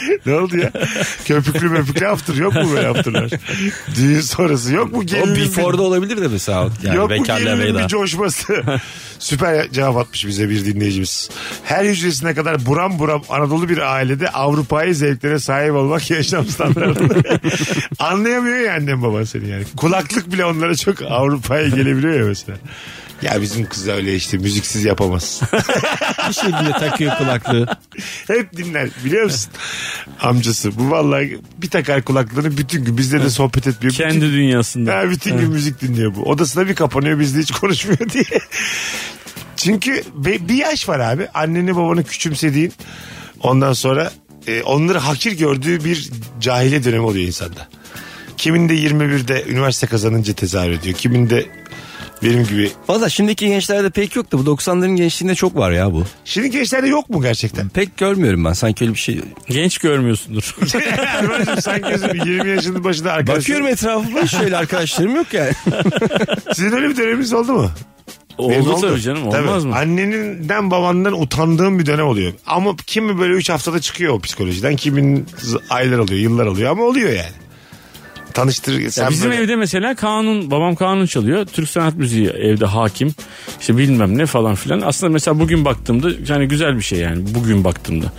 [laughs] ne oldu ya? Köpüklü möpüklü after yok mu böyle afterlar? Düğün sonrası yok mu? O Gelinin bir- before'da olabilir de mesela. Yani yok mu bekarlığa gelinin veda. bir coşması? [laughs] Süper cevap atmış bize bir dinleyicimiz. Her hücresine kadar buram buram Anadolu bir ailede Avrupa'yı zevklere sahip olmak [laughs] yaşam [laughs] standartı. Anlayamıyor ya annem baban seni yani. Kulaklık bile onlara çok Avrupa'ya gelebiliyor ya mesela. Ya bizim kız öyle işte müziksiz [laughs] yapamaz. Bir şey [laughs] dinle takıyor kulaklığı. Hep dinler biliyor musun? Amcası bu vallahi bir takar kulaklığını bütün gün bizle de sohbet etmiyor. Bütün- Kendi dünyasında. Ha, bütün gün müzik dinliyor bu. Odasına bir kapanıyor bizle hiç [laughs] konuşmuyor diye. Çünkü be- bir yaş var abi. Anneni babanı küçümsediğin ondan sonra e, onları hakir gördüğü bir cahile dönemi oluyor insanda. Kimin de 21'de üniversite kazanınca tezahür ediyor. Kimin de benim gibi. Valla şimdiki gençlerde pek yok da bu 90'ların gençliğinde çok var ya bu. Şimdi gençlerde yok mu gerçekten? Pek görmüyorum ben sanki öyle bir şey. [laughs] Genç görmüyorsundur. Erman'cığım sen gözüm 20 yaşının başında Bakıyorum arkadaşlar. etrafıma şöyle arkadaşlarım yok yani. Sizin öyle bir döneminiz oldu mu? Benim Oldu oldu. tabii canım olmaz mı? Anneninden babandan utandığım bir dönem oluyor. Ama kimi böyle 3 haftada çıkıyor o psikolojiden. Kimin z- aylar alıyor, yıllar alıyor ama oluyor yani. Tanıştır sen Ya bizim böyle- evde mesela kanun babam kanun çalıyor. Türk sanat müziği evde hakim. İşte bilmem ne falan filan. Aslında mesela bugün baktığımda yani güzel bir şey yani bugün baktığımda.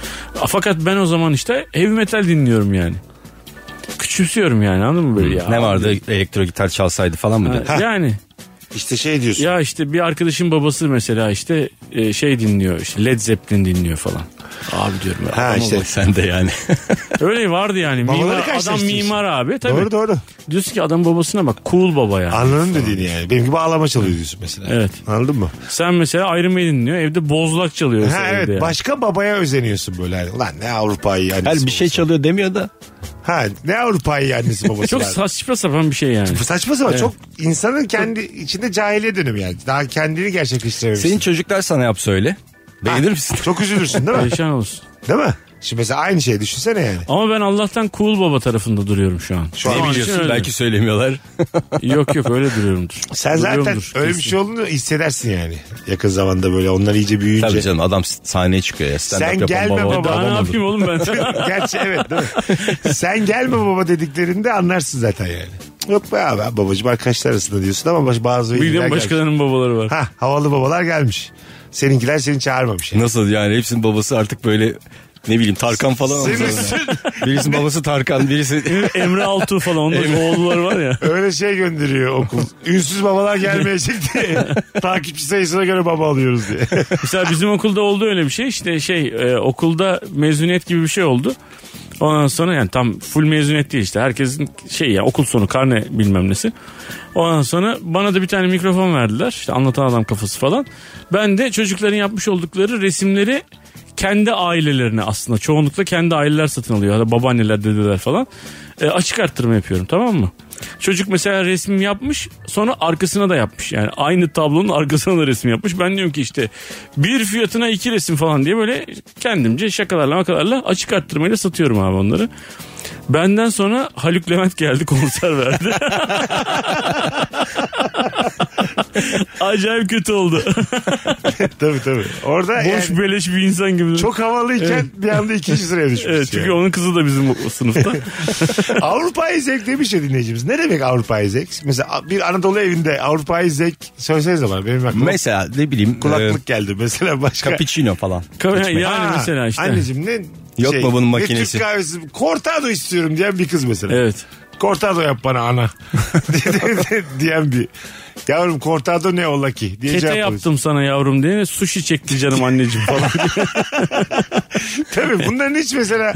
Fakat ben o zaman işte heavy metal dinliyorum yani. Küçümsüyorum yani anladın mı böyle ya? Hmm. ne vardı elektro gitar çalsaydı falan mı? dedi. Ha, [laughs] Yani işte şey diyorsun. ya işte bir arkadaşın babası mesela işte e, şey dinliyor işte Led Zeppelin dinliyor falan. Abi diyorum ya. ha adama işte. bak. Sen de yani. Öyle vardı yani. Babaları Mimar, adam karşılaştırıyorsun. mimar abi tabii. Doğru doğru. Diyorsun ki adam babasına bak cool baba yani. Anladım dediğini yani. Benim gibi ağlama çalıyor diyorsun mesela. Evet. Anladın mı? Sen mesela Iron Maiden dinliyor evde bozlak çalıyor. Ha mesela evet. evde yani. Başka babaya özeniyorsun böyle. Yani. Lan ne Avrupa'yı annesi Her bir şey babası. çalıyor demiyor da. Ha ne Avrupa'yı [laughs] annesi babası. Çok var. saçma sapan bir şey yani. Bu saçma sapan çok insanın kendi içinde cahiliye dönemi yani. Daha kendini gerçekleştirememişsin. [laughs] Senin çocuklar sana yapsa öyle. Beğenir misin? Çok üzülürsün değil mi? Perişan olsun. Değil mi? Şimdi mesela aynı şey düşünsene yani. Ama ben Allah'tan cool baba tarafında duruyorum şu an. Şu an- için Ne biliyorsun öyle. belki söylemiyorlar. Yok yok öyle duruyorumdur. Sen zaten Duruyorumdur, öyle bir kesin. şey olduğunu hissedersin yani. Yakın zamanda böyle onlar iyice büyüyünce. Tabii canım adam sahneye çıkıyor ya. Stand-up Sen yapan gelme baba. Daha ne oldu. yapayım [laughs] oğlum ben? Gerçi evet değil mi? Sen gelme baba dediklerinde anlarsın zaten yani. Yok be abi babacım arkadaşlar arasında diyorsun ama baş- bazı Bir veliler de gelmiş. başkalarının babaları var. Ha, havalı babalar gelmiş. Seninkiler seni çağırmamış. Yani. Nasıl yani hepsinin babası artık böyle ne bileyim Tarkan falan olmuş. Senin- [laughs] Birisinin babası Tarkan [laughs] birisi [laughs] Emre Altuğ falan onun oğulları var ya. Öyle şey gönderiyor okul. Ünsüz babalar gelmeyecek diye. Takipçi sayısına göre baba alıyoruz diye. [laughs] Mesela bizim okulda oldu öyle bir şey. İşte şey e, okulda mezuniyet gibi bir şey oldu. Ondan sonra yani tam full mezuniyet değil işte. Herkesin şey ya okul sonu karne bilmem nesi. Ondan sonra bana da bir tane mikrofon verdiler. İşte anlatan adam kafası falan. Ben de çocukların yapmış oldukları resimleri kendi ailelerine aslında çoğunlukla kendi aileler satın alıyor. Ya da babaanneler, dedeler falan. E, açık arttırma yapıyorum tamam mı? Çocuk mesela resim yapmış sonra arkasına da yapmış. Yani aynı tablonun arkasına da resim yapmış. Ben diyorum ki işte bir fiyatına iki resim falan diye böyle kendimce şakalarla makalarla açık arttırmayla satıyorum abi onları. Benden sonra Haluk Levent geldi konser verdi. [laughs] Acayip kötü oldu. tabii tabii. Orada Boş yani beleş bir insan gibi. çok havalıyken bir anda ikinci sıraya düşmüş. Evet çünkü yani. onun kızı da bizim [laughs] o- sınıfta. Avrupa'yı zevk demiş ya dinleyicimiz. Ne demek Avrupa'yı zevk? Mesela bir Anadolu evinde Avrupa'yı zevk söyleseniz ama benim aklıma mesela ne bileyim e, kulaklık geldi. Mesela başka. Cappuccino falan. yani Ha, mesela işte. Anneciğim ne Yok şey, babanın ne makinesi. Türk kahvesi. Cortado istiyorum diyen bir kız mesela. Evet. Cortado yap bana [laughs] ana. [laughs] diyen bir. Yavrum Cortado ne ola ki? Diye Kete cevap alıyorsun. yaptım sana yavrum diye sushi çekti canım anneciğim falan. Tabii bunların hiç [laughs] mesela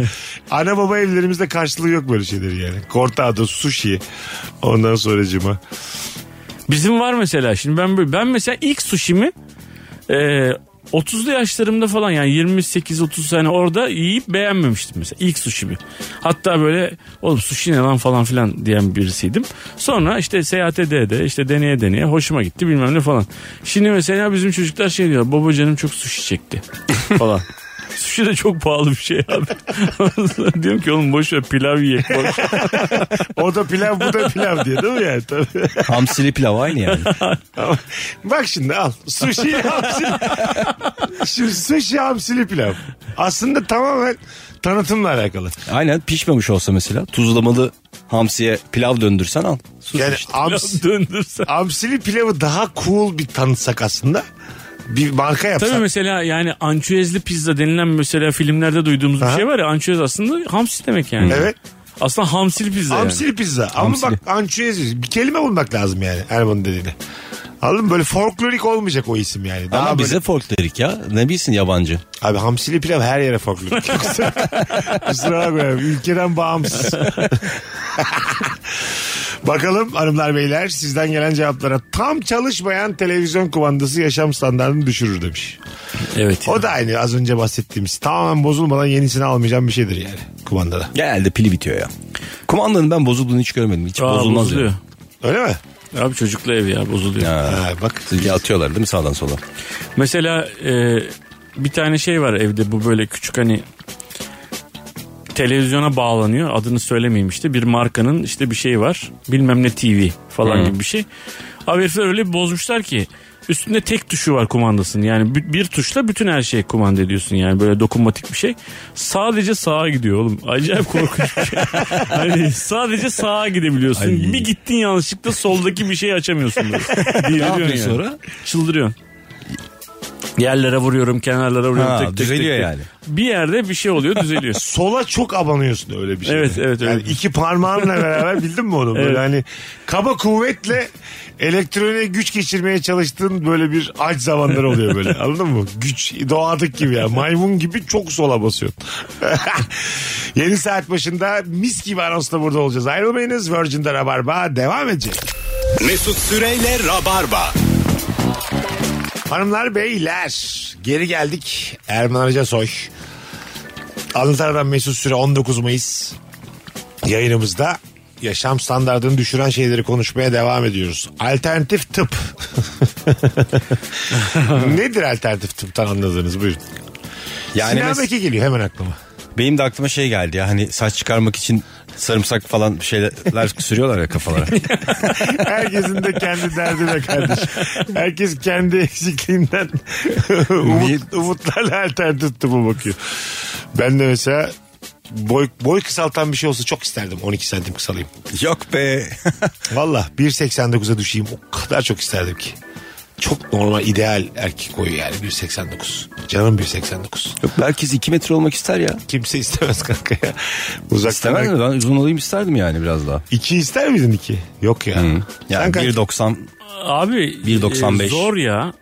ana baba evlerimizde karşılığı yok böyle şeyleri yani. Cortado, sushi. Ondan sonracıma. Bizim var mesela şimdi ben böyle, ben mesela ilk sushimi e, 30'lu yaşlarımda falan yani 28-30 sene orada yiyip beğenmemiştim mesela ilk sushimi. Hatta böyle oğlum sushi ne lan falan filan diyen birisiydim. Sonra işte seyahate de de işte deneye deneye hoşuma gitti bilmem ne falan. Şimdi mesela bizim çocuklar şey diyor baba canım çok sushi çekti falan. Sushi de çok pahalı bir şey abi. [laughs] Diyorum ki oğlum boş ver pilav yiyek. boş ver." O da pilav bu da pilav diye değil mi yani? Tabii. Hamsili pilav aynı yani. Ama Bak şimdi al. Sushi [laughs] hamsili. Şimdi sushi hamsili pilav. Aslında tamamen tanıtımla alakalı. Aynen pişmemiş olsa mesela tuzlamalı hamsiye pilav döndürsen al. Sus Yani işte. hams- Döndürsen. hamsili pilavı daha cool bir tanıtsak aslında. Bir marka yapsak. Tabii mesela yani ançüezli pizza denilen mesela filmlerde duyduğumuz bir Aha. şey var ya ançüez aslında hamsi demek yani. Evet. Aslında hamsil pizza Hamsili pizza. Ama Hamsili. bak ançuez bir kelime bulmak lazım yani Erman'ın dediğine. Anladın mı? Böyle folklorik olmayacak o isim yani. Daha Ama böyle- bize folk dedik ya. Ne bilsin yabancı. Abi hamsili pilav her yere folklorik. Kusura- Kusura bakma. Ülkeden bağımsız. Bakalım hanımlar beyler sizden gelen cevaplara tam çalışmayan televizyon kumandası yaşam standartını düşürür demiş. yani. Evet. O da aynı az önce bahsettiğimiz tamamen bozulmadan yenisini almayacağım bir şeydir yani kumandada. Genelde pili bitiyor ya. Kumandanın ben bozulduğunu hiç görmedim. Hiç Aa, bozulmaz bozuluyor. Öyle mi? Abi çocuklu ev ya bozuluyor. yani. Ha, bak Ha. Atıyorlar değil mi sağdan sola? Mesela e, bir tane şey var evde bu böyle küçük hani televizyona bağlanıyor. Adını söylemeyeyim işte bir markanın işte bir şey var. Bilmem ne TV falan gibi bir şey. Abi herifler öyle bir bozmuşlar ki üstünde tek tuşu var kumandasının. Yani bir, bir tuşla bütün her şeyi kumanda ediyorsun yani böyle dokunmatik bir şey. Sadece sağa gidiyor oğlum. Acayip korkunç [laughs] bir şey. Hani sadece sağa gidebiliyorsun. Ay. Bir gittin yanlışlıkla soldaki bir [laughs] şey açamıyorsun. böyle. Deliriyorsun yapıyorsun yani. sonra? Çıldırıyorsun. Yerlere vuruyorum, kenarlara vuruyorum. Ha, tek, tek, düzeliyor tek, tek. yani. Bir yerde bir şey oluyor, düzeliyor. [laughs] sola çok abanıyorsun öyle bir şey. Evet, evet, Yani öyle bir iki parmağınla [laughs] beraber bildin mi onu? Böyle Evet. hani kaba kuvvetle elektroniğe güç geçirmeye çalıştığın böyle bir aç zamanlar oluyor [laughs] böyle. Anladın mı? Güç doğadık gibi ya. Maymun gibi çok sola basıyorsun. [laughs] Yeni saat başında mis gibi anonsla burada olacağız. Ayrılmayınız. Virgin'de Rabarba devam edecek. Mesut Süreyle Rabarba. Hanımlar beyler geri geldik Erman Arıca Soy. Anlatan Adam Mesut Süre 19 Mayıs yayınımızda yaşam standartını düşüren şeyleri konuşmaya devam ediyoruz. Alternatif tıp. Nedir alternatif tıptan anladığınız buyurun. Yani Yani Sinan mes- Beke geliyor hemen aklıma. Benim de aklıma şey geldi ya hani saç çıkarmak için sarımsak falan bir [laughs] şeyler sürüyorlar ya kafalara. Herkesin de kendi derdi be kardeşim. Herkes kendi eksikliğinden [laughs] Niye? umut, umutlarla alternatif tıpa bakıyor. Ben de mesela boy, boy kısaltan bir şey olsa çok isterdim 12 santim kısalayım. [laughs] Yok be. Valla 1.89'a düşeyim o kadar çok isterdim ki. Çok normal ideal erkek boyu yani 1.89. Canım 1.89. [laughs] Yok herkes 2 metre olmak ister ya. Kimse istemez kanka ya. Uzaktan İstemez mi? Ben uzun olayım isterdim yani biraz daha. 2 ister miydin 2? Yok ya. Sen Yani kaç? 1.90 Abi 1.95. e, zor ya.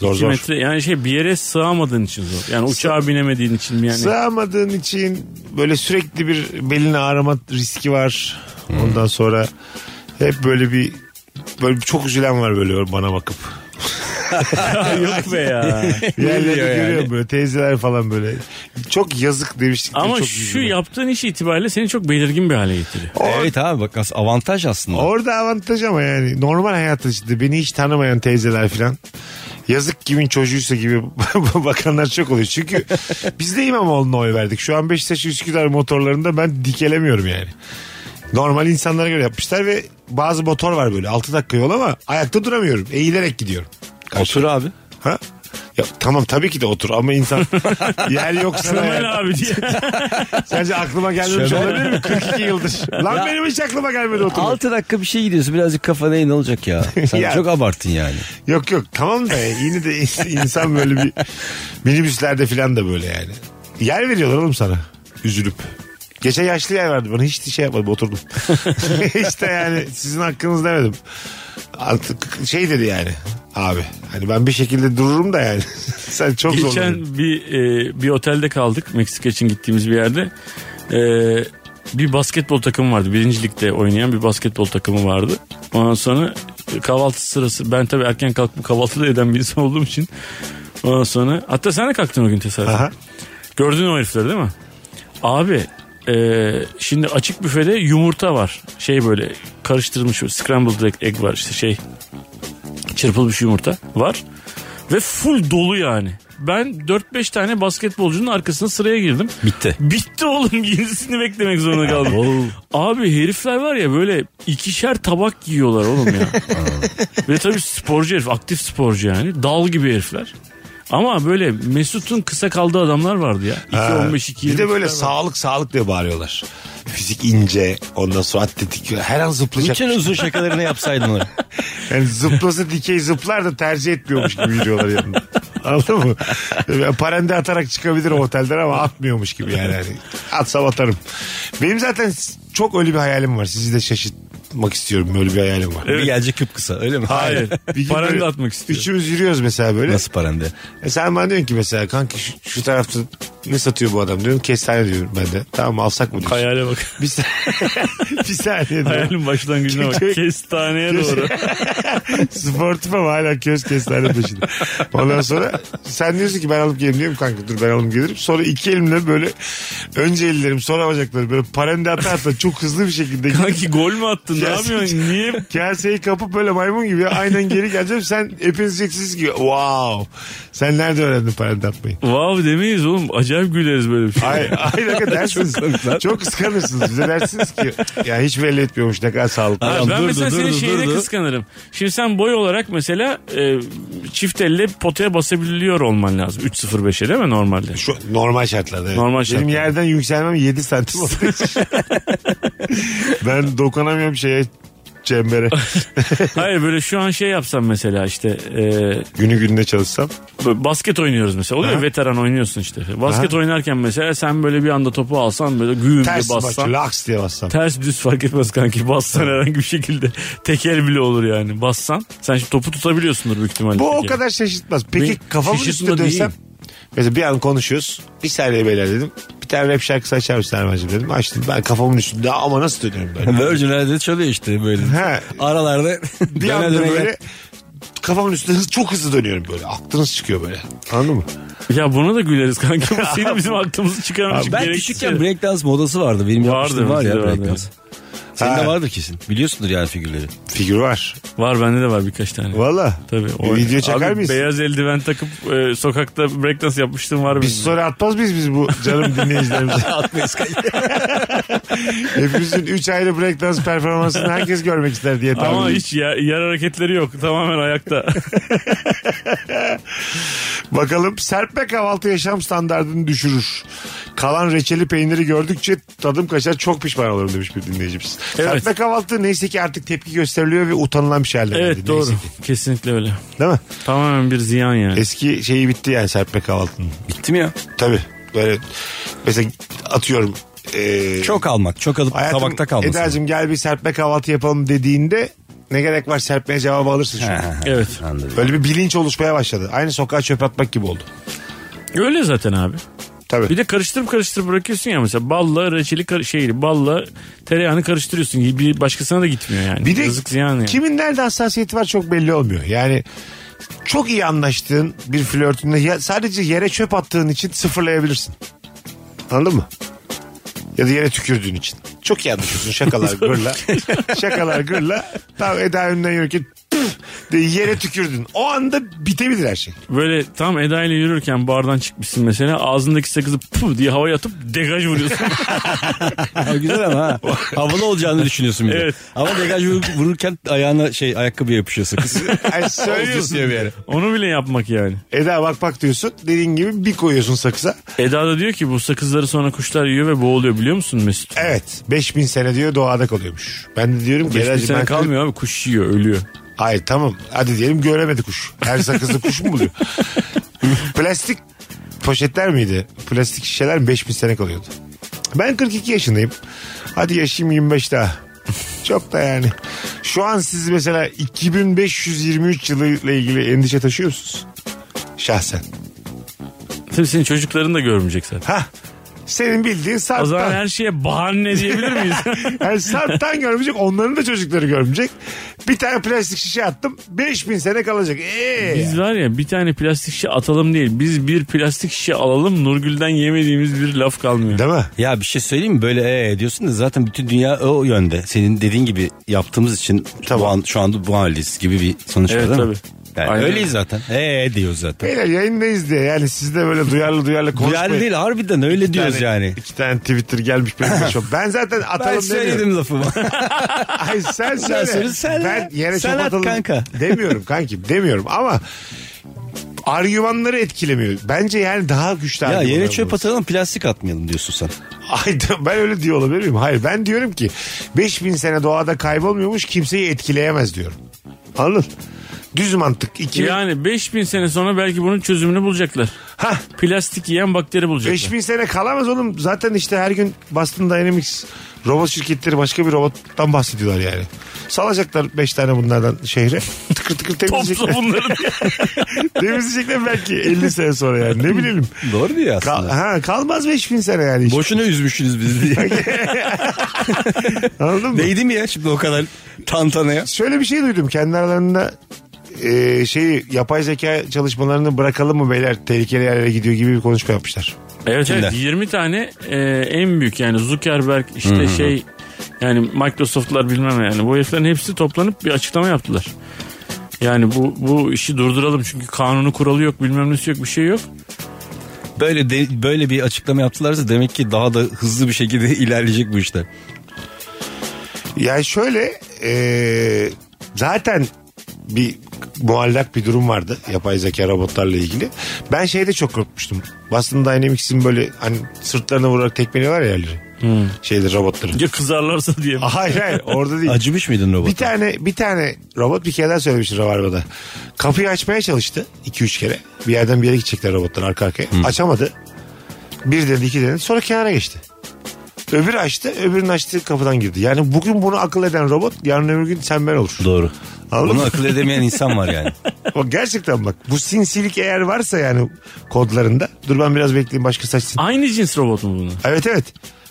Zor İki zor. metre yani şey bir yere sığamadığın için zor. Yani uçağa binemediğin için mi yani. Sığamadığın için böyle sürekli bir belini ağrıma riski var. Ondan sonra hep böyle bir böyle bir çok üzülen var böyle bana bakıp. [laughs] Yok be ya. Yerlerde diyor yani? görüyorum böyle teyzeler falan böyle. Çok yazık demiştik. diye Ama çok şu üzüldüm. yaptığın iş itibariyle seni çok belirgin bir hale getiriyor. Evet abi bak as- avantaj aslında. Orada avantaj ama yani normal hayat içinde beni hiç tanımayan teyzeler falan. Yazık kimin çocuğuysa gibi [laughs] bakanlar çok oluyor. [laughs] Çünkü biz de İmamoğlu'na oy verdik. Şu an Beşiktaş Üsküdar motorlarında ben dikelemiyorum yani. Normal insanlara göre yapmışlar ve bazı motor var böyle 6 dakika yol ama ayakta duramıyorum. Eğilerek gidiyorum. Otur abi. Ha? Ya, tamam tabii ki de otur ama [laughs] insan yer yok sana. Ömer yani. abi diye. Sence aklıma gelmemiş Şöyle. olabilir mi? 42 yıldır. Lan benim hiç aklıma gelmedi oturmak. 6 dakika bir şey gidiyorsun birazcık kafana in olacak [laughs] ya. Sen Ya. çok abarttın yani. Yok yok tamam da yine de [laughs] insan böyle bir minibüslerde falan da böyle yani. Yer veriyorlar oğlum sana üzülüp. Geçen yaşlı yer verdi bana hiç şey yapmadım oturdum. işte yani sizin hakkınız demedim. Artık şey dedi yani abi hani ben bir şekilde dururum da yani. [laughs] Sen çok zor. Geçen bir e, bir otelde kaldık. Meksika için gittiğimiz bir yerde. E, bir basketbol takımı vardı. Birinci ligde oynayan bir basketbol takımı vardı. Ondan sonra e, kahvaltı sırası. Ben tabii erken kalkıp kahvaltı da eden bir insan olduğum için. Ondan sonra hatta sen de kalktın o gün tesadüfen. Aha. Gördün o herifleri değil mi? Abi e, şimdi açık büfede yumurta var. Şey böyle karıştırılmış scrambled egg- egg var işte şey çırpılmış yumurta var. Ve full dolu yani. Ben 4-5 tane basketbolcunun arkasına sıraya girdim. Bitti. Bitti oğlum yenisini beklemek zorunda kaldım. Abi herifler var ya böyle ikişer tabak yiyorlar [laughs] oğlum ya. Ve tabii sporcu herif aktif sporcu yani dal gibi herifler. Ama böyle Mesut'un kısa kaldığı adamlar vardı ya. 2-15 2 Bir de böyle sağlık sağlık diye bağırıyorlar. Fizik ince ondan sonra atletik her an zıplayacak. şey Bütün uzun şakalarını yapsaydın onu. Yani zıplası dikey zıplar da tercih etmiyormuş gibi yürüyorlar yanında. Anladın mı? Yani Parende atarak çıkabilir o otelden ama atmıyormuş gibi yani. yani. Atsam atarım. Benim zaten çok öyle bir hayalim var. Sizi de şaşırtmak istiyorum. Böyle bir hayalim var. Bir gelecek kıpkısa öyle mi? Hayır. Bir gün Paranı böyle da atmak istiyor. Üçümüz yürüyoruz mesela böyle. Nasıl parende? E sen bana diyorsun ki mesela kanka şu, şu tarafta ne satıyor bu adam diyorum. Kestane diyorum ben de. Tamam alsak mı diyorsun. Hayale bak. Bir, sa- [laughs] bir saniye diyorum. Hayalin başlangıcına bak. Köy- Kestaneye doğru. [laughs] Sportif ama hala köz kestane peşinde. Ondan sonra sen diyorsun ki ben alıp gelirim diyorum kanka dur ben alıp gelirim. Sonra iki elimle böyle önce ellerim sonra bacaklarım böyle parende ata ata çok hızlı bir şekilde gidip Kanki gol mü attın? Ne Ya- yapıyorsun? Niye kaseyi kapıp böyle maymun gibi aynen geri geleceğim. Sen epineceksiniz ki wow. Sen nerede öğrendin parende atmayı? Vav demeyiz oğlum. Acayip güleriz böyle bir şey. Ay, ay [laughs] ne kadar dersiniz. Çok, kıskanırsınız. Bize dersiniz ki ya hiç belli etmiyormuş ne kadar sağlıklı. Ha, Adam ben durdu, mesela senin durdu, şeyine durdu. kıskanırım. Şimdi sen boy olarak mesela e, çift elle potaya basabiliyor olman lazım. 3.05'e değil [laughs] mi normalde? Şu, normal şartlarda. evet. Normal Benim şartlarda. yerden yükselmem 7 santim [laughs] olduğu için. ben dokunamıyorum şeye çembere. Hayır böyle şu an şey yapsam mesela işte e, Günü gününe çalışsam. böyle basket oynuyoruz mesela. Oluyor ya, veteran oynuyorsun işte. Basket oynarken mesela sen böyle bir anda topu alsan böyle güm diye Ters bassan. maç. Laks diye bassam. Ters düz fark etmez kanki bassan herhangi bir şekilde [laughs] tekel bile olur yani bassan sen şimdi topu tutabiliyorsundur büyük ihtimalle. Bu o tekeli. kadar şaşırtmaz. Peki Beni kafamın üstüne şaşırtma değil. dönsem. Mesela bir an konuşuyoruz. Bir saniye beyler dedim. Bir tane rap şarkısı açar mısın Erman'cığım dedim. Açtım. Ben kafamın üstünde ama nasıl dönüyorum böyle. Virgin Radio'da çalıyor işte böyle. He. Aralarda Bir döne anda döne gel. böyle kafamın üstünde hız, çok hızlı dönüyorum böyle. Aklınız çıkıyor böyle. Anladın mı? Ya buna da güleriz kanka. [laughs] Bu senin bizim aklımızı çıkarmış. Ben gereksiz küçükken şey. breakdance modası vardı. Benim Vardı, yapmıştım var ya bizde vardı. breakdance. Senin Ha. de vardır kesin. Biliyorsundur yani figürleri. Figür var. Var bende de var birkaç tane. Valla. Tabii. Bir video çeker Abi miyiz? Beyaz eldiven takıp e, sokakta breakdance yapmıştım var Biz benim. sonra atmaz mıyız biz bu canım [laughs] dinleyicilerimize? Atmayız [laughs] Hepimizin 3 ayrı breakdance performansını herkes görmek ister diye tahmin Ama ediyorum. hiç ya- yer hareketleri yok. [laughs] Tamamen ayakta. Bakalım serpme kahvaltı yaşam standartını düşürür. Kalan reçeli peyniri gördükçe tadım kaçar çok pişman olurum demiş bir dinleyicimiz. Evet. Serpme kahvaltı neyse ki artık tepki gösteriliyor ve utanılan bir şey haline geldi. evet doğru. Neyse ki. Kesinlikle öyle. Değil mi? Tamamen bir ziyan yani. Eski şeyi bitti yani serpme kahvaltının. Bitti mi ya? Tabii böyle mesela atıyorum. eee, Çok almak. Çok alıp hayatım, tabakta kalmasın. Eda'cığım gel bir serpme kahvaltı yapalım dediğinde ne gerek var serpmeye cevabı alırsın şu an. Evet. Anladım. Böyle bir bilinç oluşmaya başladı. Aynı sokağa çöp atmak gibi oldu. Öyle zaten abi. Tabii. Bir de karıştırıp karıştırıp bırakıyorsun ya mesela balla reçeli kar- şeyli balla tereyağını karıştırıyorsun. Bir başkasına da gitmiyor yani. Bir de Yazık ziyan yani. kimin nerede hassasiyeti var çok belli olmuyor. Yani çok iyi anlaştığın bir flörtünde ya- sadece yere çöp attığın için sıfırlayabilirsin. Anladın mı? Ya da yere tükürdüğün için. Çok iyi anlaşıyorsun [laughs] şakalar gırla. şakalar gırla. Tam Eda önünden yürürken tüf de yere tükürdün. O anda bitebilir her şey. Böyle tam Eda ile yürürken bardan çıkmışsın mesela ağzındaki sakızı puh diye havaya atıp [laughs] degaj vuruyorsun. Ha, güzel ama ha. Havalı olacağını düşünüyorsun bir de. Evet. Ama degaj vur- vururken ayağına şey ayakkabıya [laughs] yapışıyor sakız. Ay söylüyorsun. diye bir yere. Onu bile yapmak yani. Eda bak bak diyorsun. Dediğin gibi bir koyuyorsun sakıza. Eda da diyor ki bu sakızları sonra kuşlar yiyor ve boğuluyor biliyor musun Mesut? Evet. 5000 sene diyor doğada kalıyormuş. Ben de diyorum ki Beş bin Eda'cığım sene ben kırk- kalmıyor abi kuş yiyor ölüyor. Hayır tamam. Hadi diyelim göremedi kuş. Her sakızlı kuş mu buluyor? [laughs] Plastik poşetler miydi? Plastik şişeler mi? 5000 sene kalıyordu. Ben 42 yaşındayım. Hadi yaşayayım 25 daha. Çok da yani. Şu an siz mesela 2523 yılıyla ilgili endişe taşıyor musunuz? Şahsen. Tabii senin çocukların da görmeyecek zaten. Ha. Senin bildiğin O zaman sarptan. her şeye bahane diyebilir [laughs] miyiz? Yani [laughs] sarptan görmeyecek. Onların da çocukları görmeyecek. Bir tane plastik şişe attım. 5000 sene kalacak. Ee, Biz var ya bir tane plastik şişe atalım değil. Biz bir plastik şişe alalım Nurgül'den yemediğimiz bir laf kalmıyor. Değil mi? Ya bir şey söyleyeyim mi? Böyle ee diyorsun da zaten bütün dünya "Ee," o yönde. Senin dediğin gibi yaptığımız için Tamam. bu an, şu anda bu haldeyiz gibi bir sonuç Evet, var değil mi? tabii. Yani Aynen. öyleyiz zaten. Ee diyoruz zaten. Beyler yayındayız diye yani siz de böyle duyarlı duyarlı Bu konuşmayın. yer değil harbiden öyle Bir diyoruz tane- yani. İki tane Twitter gelmiş benim [laughs] başıma. Ben zaten atalım Ben demiyorum. [laughs] söyledim lafımı. Ay sen söyle. Sen söyle, sen ben de. yere Sen çöp at atalım kanka. Demiyorum kankim demiyorum [laughs] ama argümanları etkilemiyor. Bence yani daha güçlü ya argümanlar yere çöp buluruz. atalım plastik atmayalım diyorsun sen. Ay ben öyle diyor olabilir miyim? Hayır ben diyorum ki 5000 sene doğada kaybolmuyormuş kimseyi etkileyemez diyorum. Anladın? Düz mantık. 2000, Yani 5000 sene sonra belki bunun çözümünü bulacaklar. Hah. Plastik yiyen bakteri bulacaklar. 5000 sene kalamaz oğlum. Zaten işte her gün Boston Dynamics robot şirketleri başka bir robottan bahsediyorlar yani. Salacaklar 5 tane bunlardan şehre. [laughs] Tıkır tıkır Topla temizleyecekler. bunları. [laughs] temizleyecekler belki 50 sene sonra yani. [laughs] Ne bileyim. Doğru diyor Kal- aslında. ha, kalmaz 5000 sene yani. Hiç. Boşuna üzmüşsünüz [laughs] bizi diye. Anladın mı? Değdi mi ya şimdi o kadar tantanaya? Şöyle bir şey duydum. Kendi aralarında e, şeyi yapay zeka çalışmalarını bırakalım mı beyler tehlikeli yerlere gidiyor gibi bir konuşma yapmışlar. Evet Kimler? evet 20 tane e, en büyük yani Zuckerberg işte şey yani Microsoft'lar bilmem yani bu heriflerin hepsi toplanıp bir açıklama yaptılar. Yani bu bu işi durduralım çünkü kanunu kuralı yok bilmem nesi yok bir şey yok. Böyle de- böyle bir açıklama yaptılarsa demek ki daha da hızlı bir şekilde [laughs] ilerleyecek bu işler. Yani şöyle e, zaten bir muallak bir durum vardı yapay zeka robotlarla ilgili. Ben şeyde çok korkmuştum. Boston Dynamics'in böyle hani sırtlarına vurarak tekmeliyorlar ya yerleri. Şeyde [laughs] robotları. Ya kızarlarsa diye. [laughs] hayır hayır orada değil. Acımış mıydın robot? Bir tane bir tane robot bir kere daha söylemişti Rabarba'da. Kapıyı açmaya çalıştı 2-3 kere. Bir yerden bir yere gidecekler robotlar arka arkaya. Açamadı. Bir dedi iki dedi sonra kenara geçti. Öbürü açtı öbürünün açtığı kapıdan girdi. Yani bugün bunu akıl eden robot yarın öbür gün sen ben olur. Doğru. Anladın Bunu mı? akıl edemeyen insan var yani. Bak gerçekten bak bu sinsilik eğer varsa yani kodlarında. Dur ben biraz bekleyeyim başka saçsın. Aynı cins robot mu bunlar? Evet evet.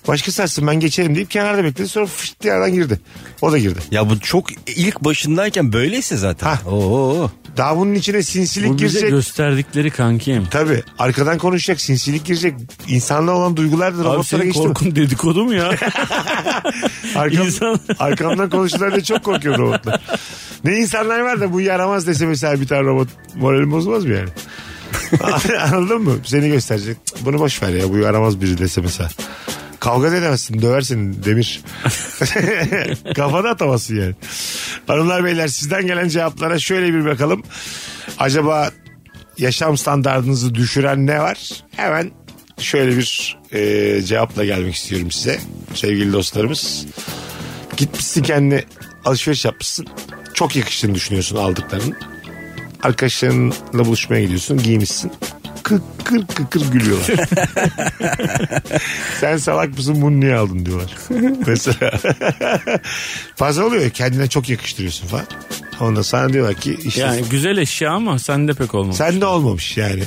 Başkası açsın ben geçerim deyip kenarda bekledi. Sonra fışt diye aradan girdi. O da girdi. Ya bu çok ilk başındayken böyleyse zaten. Hah. Oo. Daha bunun içine sinsilik Bu bize girecek. gösterdikleri kankim. Tabii arkadan konuşacak, sinsilik girecek. İnsanla olan duygular da Abi robotlara senin geçti. mi? korkun dedikodu mu ya? Arkam, İnsan- [laughs] arkamdan konuştular diye çok korkuyor robotlar. Ne insanlar var da bu yaramaz dese mesela bir tane robot moralim bozmaz [laughs] mı yani? Anladın mı? Seni gösterecek. Cık, Bunu boş ver ya bu yaramaz biri dese mesela. Kavga da edemezsin döversin [laughs] demir. Kafada atamazsın yani. Hanımlar beyler sizden gelen cevaplara şöyle bir bakalım. Acaba yaşam standartınızı düşüren ne var? Hemen şöyle bir e, cevapla gelmek istiyorum size sevgili dostlarımız. Gitmişsin kendi alışveriş yapmışsın. Çok yakıştığını düşünüyorsun aldıklarının. Arkadaşlarınla buluşmaya gidiyorsun giymişsin. Kıkır kıkır gülüyorlar. Sen salak mısın bunu niye aldın diyorlar. Mesela. Fazla oluyor ya, kendine çok yakıştırıyorsun falan. Ondan sana diyorlar ki işte yani güzel eşya ama sende pek olmaz. sen de olmamış yani.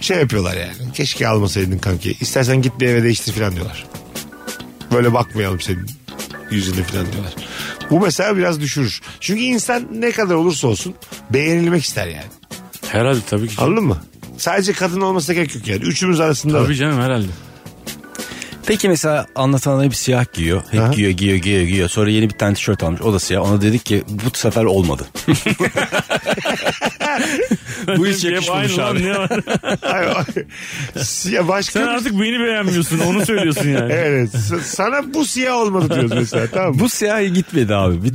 Şey yapıyorlar yani. Keşke almasaydın kanki. İstersen git bir eve değiştir falan diyorlar. Böyle bakmayalım senin yüzüne falan diyorlar. Bu mesela biraz düşürür. Çünkü insan ne kadar olursa olsun beğenilmek ister yani. Herhalde tabii ki. Anladın mı? Sadece kadın olmasına gerek yok yani. Üçümüz arasında. Tabii canım herhalde. Peki mesela anlatan hep siyah giyiyor. Hep Aha. giyiyor giyiyor giyiyor giyiyor. Sonra yeni bir tane tişört almış. O da siyah. Ona dedik ki bu sefer olmadı. bu hiç Hep yakışmamış aynı lan, abi. ne var? Ay, ay. Ya başka Sen bir- artık beni beğenmiyorsun onu [laughs] söylüyorsun yani. Evet. S- Sana bu siyah olmadı diyoruz mesela tamam mı? Bu siyah gitmedi abi. Bir-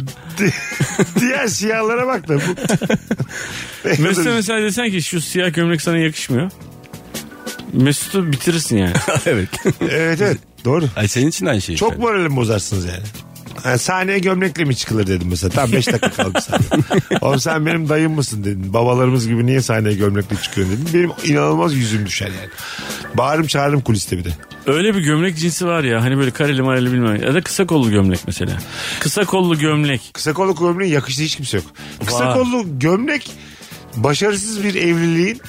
Diğer siyahlara bak da. Bu... Mesut'a mesela desen ki şu siyah gömlek sana yakışmıyor. Mesut'u [laughs] bitirirsin yani. [laughs] evet. evet evet. Doğru. Ay senin için aynı şey. Çok işte. moralimi bozarsınız yani. Ha, sahneye gömlekle mi çıkılır dedim mesela. Tam 5 dakika kaldı sahneye. Oğlum sen benim dayım mısın dedin. Babalarımız gibi niye sahneye gömlekle çıkıyorsun dedim. Benim inanılmaz yüzüm düşer yani. Bağırım çağırırım kuliste bir de. Öyle bir gömlek cinsi var ya hani böyle kareli mareli bilmem. Ya da kısa kollu gömlek mesela. Kısa kollu gömlek. Kısa kollu gömleğin yakıştığı hiç kimse yok. Kısa Vay. kollu gömlek başarısız bir evliliğin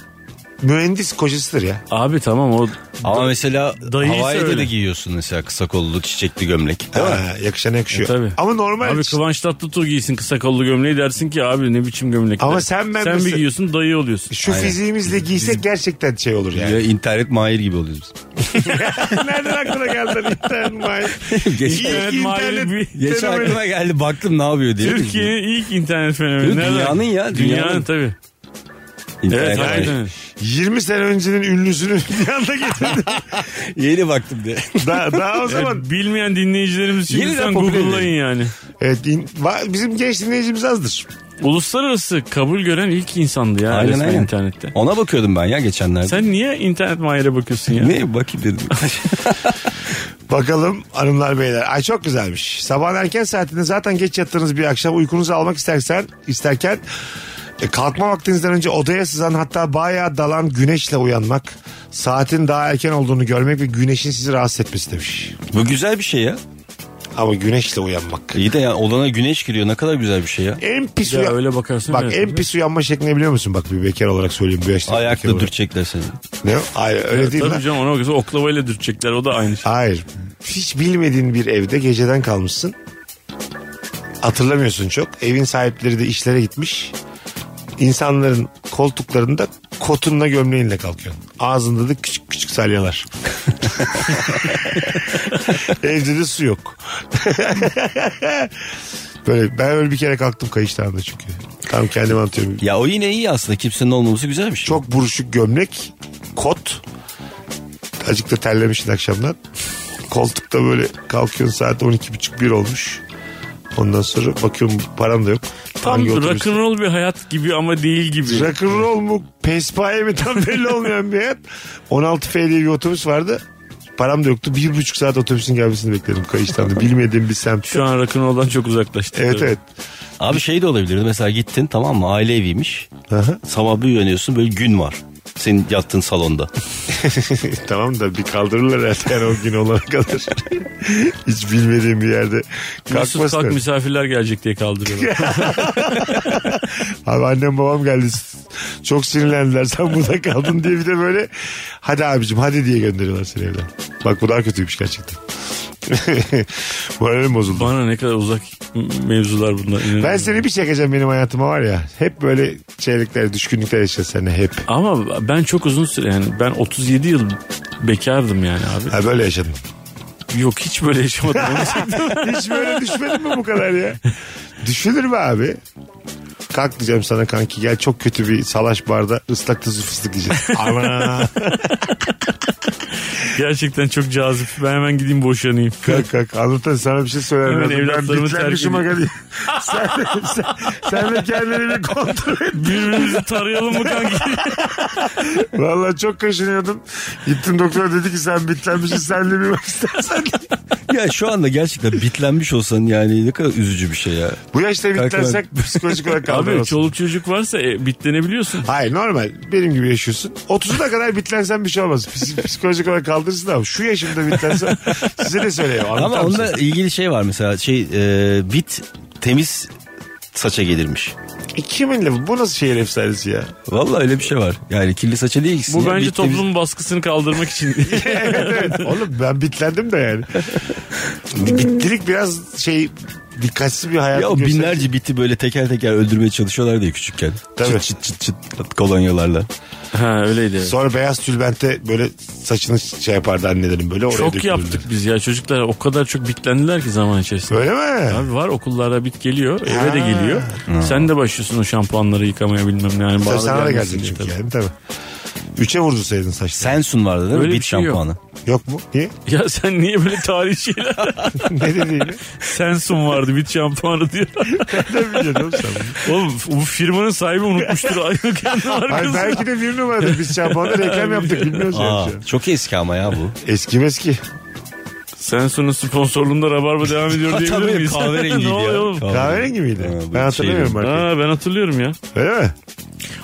mühendis kocasıdır ya. Abi tamam o Ama mesela Dayıysa Hawaii'de öyle. de giyiyorsun mesela kısa kollu çiçekli gömlek. Değil mi? Ha, yakışana yakışıyor. E, tabii. Ama normal Abi Kıvanç Tatlıtuğ giysin kısa kollu gömleği dersin ki abi ne biçim gömlek. Ama der. sen ben sen mesela- bir giyiyorsun dayı oluyorsun. şu fiziğimizle giysek gerçekten şey olur yani. Ya internet mahir gibi oluyoruz. [laughs] Nereden aklına geldi lan internet mail? Geçen- İlk internet mail bir- Geçen fenomeni. aklıma geldi baktım ne yapıyor diye. Türkiye'nin ilk internet fenomeni. Yok, Nereden? dünyanın ya, Dünyanın, dünyanın. tabii. İnternet Evet, mahir. aynen. 20 sene öncenin ünlüsünü [laughs] bir anda getirdim. Yeni baktım diye. daha, daha o zaman. Evet, bilmeyen dinleyicilerimiz için Yeniden lütfen popüler Google'layın yani. Evet, in- va- bizim genç dinleyicimiz azdır. Uluslararası kabul gören ilk insandı ya Aynen, resmen aynen. internette. Ona bakıyordum ben ya geçenlerde. Sen niye internet mahire bakıyorsun ya? Ne bakayım [laughs] dedim. Bakalım hanımlar beyler. Ay çok güzelmiş. Sabah erken saatinde zaten geç yattığınız bir akşam uykunuzu almak istersen isterken e, kalkma vaktinizden önce odaya sızan hatta bayağı dalan güneşle uyanmak saatin daha erken olduğunu görmek ve güneşin sizi rahatsız etmesi demiş. Bu güzel bir şey ya. Ama güneşle uyanmak. İyi de yani olana güneş giriyor ne kadar güzel bir şey ya. En pis Ya uyan- öyle bakarsın. Bak evet. en pis uyanma şeklini biliyor musun? Bak bir bekar olarak söyleyeyim. Bu yaşta bekar Ayakta olarak. dürtecekler seni. Ne? Hayır öyle değil lan. Tabii canım ona bakıyorsun oklavayla dürtecekler o da aynı şey. Hayır. Hiç bilmediğin bir evde geceden kalmışsın. Hatırlamıyorsun çok. Evin sahipleri de işlere gitmiş. İnsanların koltuklarında kotunla gömleğinle kalkıyorsun. Ağzında da küçük küçük salyalar. [laughs] Evde de su yok. [laughs] böyle ben öyle bir kere kalktım kayıştağında çünkü. Tam kendimi anlatıyorum. Ya o yine iyi aslında kimsenin olmaması güzel bir şey. Çok buruşuk gömlek, kot. Azıcık da terlemişsin akşamdan. Koltukta böyle kalkıyorsun saat 12.30 1 olmuş. Ondan sonra bakıyorum param da yok. Tam Hangi otobüs- rock'n'roll bir hayat gibi ama değil gibi. Rock'n'roll mu? Pespaye mi? Tam belli olmayan bir hayat. 16 F diye bir otobüs vardı. Param da yoktu. Bir buçuk saat otobüsün gelmesini bekledim Kayıştan da. Bilmediğim bir semt. Şu an rock'n'roll'dan çok uzaklaştık. Evet evet. Abi şey de olabilirdi mesela gittin tamam mı aile eviymiş. Aha. Sabah bir uyanıyorsun böyle gün var. Senin yattığın [laughs] salonda. E, tamam da bir kaldırırlar herhalde yani o gün olana kadar. [laughs] Hiç bilmediğim bir yerde. Mesut Kalkmasın. kalk misafirler gelecek [laughs] diye kaldırıyorlar. Abi annem babam geldi. Çok sinirlendiler. Sen burada kaldın diye bir de böyle hadi abicim hadi diye gönderiyorlar seni evden. Bak bu daha kötüymüş gerçekten. [laughs] Moralim bozuldu. Bana ne kadar uzak m- mevzular bunlar. inanın. Ben seni bir çekeceğim benim hayatıma var ya. Hep böyle şeylikler, düşkünlükler yaşadın sen hep. Ama ben çok uzun süre yani ben 37 yıl bekardım yani abi. Ha böyle yaşadım. Yok hiç böyle [laughs] yaşamadım. Hiç böyle düşmedin mi bu kadar ya? Düşünür mü abi? Kalk diyeceğim sana kanki gel çok kötü bir salaş barda ıslak tuzlu fıstık yiyeceğiz. Aman Gerçekten çok cazip. Ben hemen gideyim boşanayım. kalk kalk anlatan sana bir şey söyler. Hemen lazım. evlatlarımı ben bitlenmişim terk aga diye. [laughs] sen, sen, sen de kendini bir kontrol et. Birbirimizi tarayalım mı kanki? Valla çok kaşınıyordum. Gittim doktora dedi ki sen bitlenmişsin sen de bir bak istersen. Ya şu anda gerçekten bitlenmiş olsan yani ne kadar üzücü bir şey ya. Bu yaşta Kalk bitlensek psikolojik olarak Abi kaldıramazsın. çoluk çocuk varsa e, bitlenebiliyorsun. Hayır normal. Benim gibi yaşıyorsun. 30'una kadar bitlensen bir şey olmaz. Psik- Psikolojik olarak kaldırırsın ama şu yaşımda bitlensen size de söyleyeyim. Ama Ama onunla ilgili şey var mesela şey e, bit temiz saça gelirmiş. Kimin lafı? E, Bu nasıl şehir efsanesi ya? Vallahi öyle bir şey var. Yani kirli saça niye gitsin? Bu ya? bence Bit temiz- toplumun baskısını kaldırmak için. evet, evet. Oğlum ben bitlendim de yani. Bittilik biraz şey dikkatsiz bir hayat. Ya o binlerce biti böyle teker teker öldürmeye çalışıyorlar diye küçükken. Tabii. Çıt çıt çıt çıt kolonyalarla. [laughs] ha öyleydi. Sonra beyaz tülbente böyle saçını şey yapardı annelerin böyle. Oraya Çok dökülürdü. yaptık biz ya çocuklar o kadar çok bitlendiler ki zaman içerisinde. Öyle mi? Abi var okullarda bit geliyor eve de Ha. geliyor. Sen de başlıyorsun o şampuanları yıkamaya bilmem ne. Yani Tabii bağla sana da gelmesin gelecek diye çünkü tabii. yani tabii. Üçe vurdusaydın saçları. Sensun vardı değil mi? Öyle bir bit şey yok. şampuanı. Yok mu? Niye? [laughs] Ya sen niye böyle [laughs] tarihi şeyler ne dediğini? sensun vardı bit şampuanı diyor. Ne biliyorsun oğlum sen bunu? [laughs] Oğlum bu firmanın sahibi [laughs] unutmuştur. Ay, kendi Hayır, markasını. belki de bir numaradır. Biz şampuanda reklam yaptık bilmiyoruz yani Aa, şu an. çok eski ama [laughs] ya bu. Eski meski. Sensun'un sponsorluğunda Rabarba devam ediyor diyebilir [laughs] miyiz? kahverengiydi [laughs] ne oluyor oğlum? ya. Kahverengi miydi? Ha, bu ben hatırlamıyorum şey- markayı. Ha, ben hatırlıyorum ya. Öyle mi?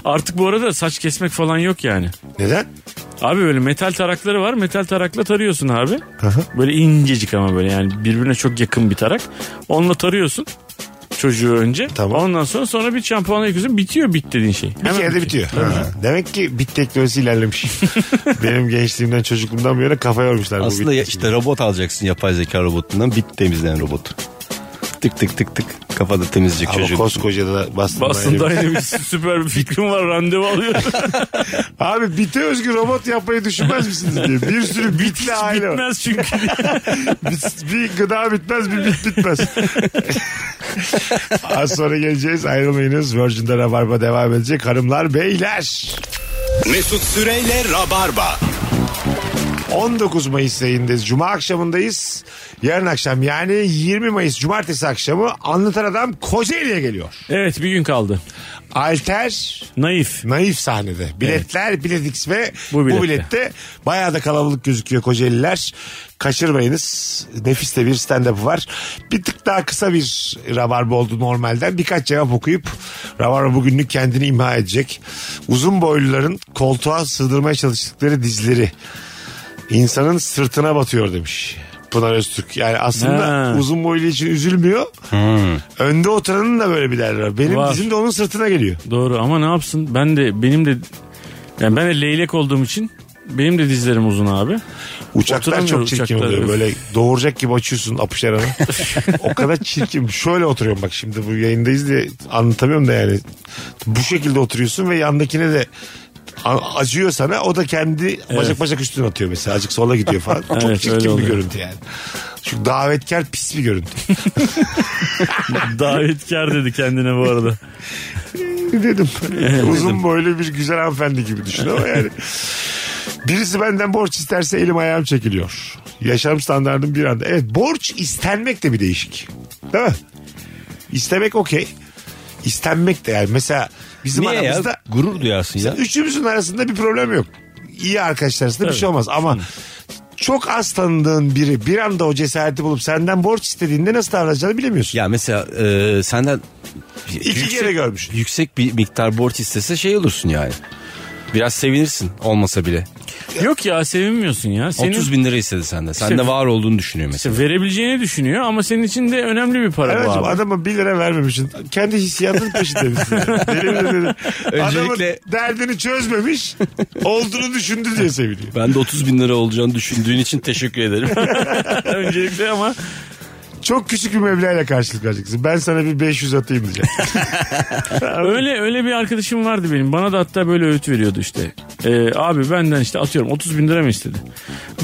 Artık bu arada saç kesmek falan yok yani. Neden? Abi böyle metal tarakları var. Metal tarakla tarıyorsun abi. Aha. Böyle incecik ama böyle yani birbirine çok yakın bir tarak. Onunla tarıyorsun çocuğu önce. Tamam. Ondan sonra sonra bir şampuanla yıkıyorsun. Bitiyor bit dediğin şey. Bir kere de bitiyor. Ha. Demek ki bit teknolojisi [laughs] ilerlemiş. Benim gençliğimden çocukluğumdan bu yana kafa yormuşlar. bu Aslında bit ya- teknolojisi. işte robot alacaksın yapay zeka robotundan bit temizleyen robot. Tık tık tık tık kafada temizleyecek Ama çocuk. koskoca da bastın. Aslında aynı bir süper bir fikrim var [laughs] randevu alıyorum. Abi bite özgü robot yapmayı düşünmez misiniz diye. Bir sürü bitle aile var. Bitmez çünkü. [laughs] Bit- bir gıda bitmez bir bit [laughs] bitmez. Az sonra geleceğiz ayrılmayınız. Virgin'de Rabarba devam edecek. Hanımlar beyler. Mesut Süreyle Rabarba. 19 Mayıs ayındayız. Cuma akşamındayız. Yarın akşam yani 20 Mayıs Cumartesi akşamı Anlatan Adam Kocaeli'ye geliyor. evet bir gün kaldı. Alter Naif. Naif sahnede. Biletler, Bilet X ve bu Bu bilette. bilette. Bayağı da kalabalık gözüküyor Kocaeliler. Kaçırmayınız. Nefis de bir stand-up var. Bir tık daha kısa bir rabarba oldu normalden. Birkaç cevap okuyup rabarba bugünlük kendini imha edecek. Uzun boyluların koltuğa sığdırmaya çalıştıkları dizleri insanın sırtına batıyor demiş. Pınar Öztürk. Yani aslında Ha. uzun boylu için üzülmüyor. Önde oturanın da böyle bir derdi var. Benim Var. dizim de onun sırtına geliyor. Doğru ama ne yapsın? Ben de benim de yani ben de leylek olduğum için benim de dizlerim uzun abi. Uçaklar Oturamıyor çok çirkin uçaklar, oluyor. öf. [laughs] Böyle doğuracak gibi açıyorsun apış yaranı. o kadar çirkin. Şöyle oturuyorum bak şimdi bu yayındayız diye anlatamıyorum da yani. Bu şekilde oturuyorsun ve yandakine de a- acıyor sana o da kendi bacak bacak üstüne atıyor mesela azıcık sola gidiyor falan. Çok [laughs] Evet, öyle çirkin bir oluyor. görüntü yani. Şu davetkar pis bir görüntü. [laughs] Davetkar dedi kendine bu arada. [laughs] dedim. Uzun boylu bir güzel hanımefendi gibi düşün ama yani. Birisi benden borç isterse elim ayağım çekiliyor. Yaşam standardım bir anda. Evet borç istenmek de bir değişik. Değil mi? İstemek okey. İstenmek de yani mesela bizim Niye aramızda ya? Gurur duyarsın ya. üçümüzün arasında bir problem yok. İyi arkadaşlar arasında bir şey olmaz ama çok az tanıdığın biri bir anda o cesareti bulup senden borç istediğinde nasıl davranacağını bilemiyorsun. Ya mesela e, senden İki kere görmüş. yüksek bir miktar borç istese şey olursun yani. Biraz sevinirsin olmasa bile. Yok ya sevinmiyorsun ya. Senin 30 bin lira istedi senden. Sende İşte- var olduğunu düşünüyor mesela. işte verebileceğini düşünüyor ama senin için de önemli bir para Evet bu abi. adama 1 lira vermemişsin. Kendi hissiyatının peşindemişsin. Benim de dedim. Öncelikle- Adamın derdini çözmemiş. Olduğunu düşündü diye seviniyor. Ben de 30 bin lira olacağını düşündüğün için teşekkür ederim. [laughs] Öncelikle ama Çok küçük bir meblağla karşılık vereceksin. Ben sana bir 500 atayım diyeceğim. öyle öyle bir arkadaşım vardı benim. Bana da hatta böyle öğüt veriyordu işte. Ee, abi benden işte atıyorum 30 bin lira mı istedi?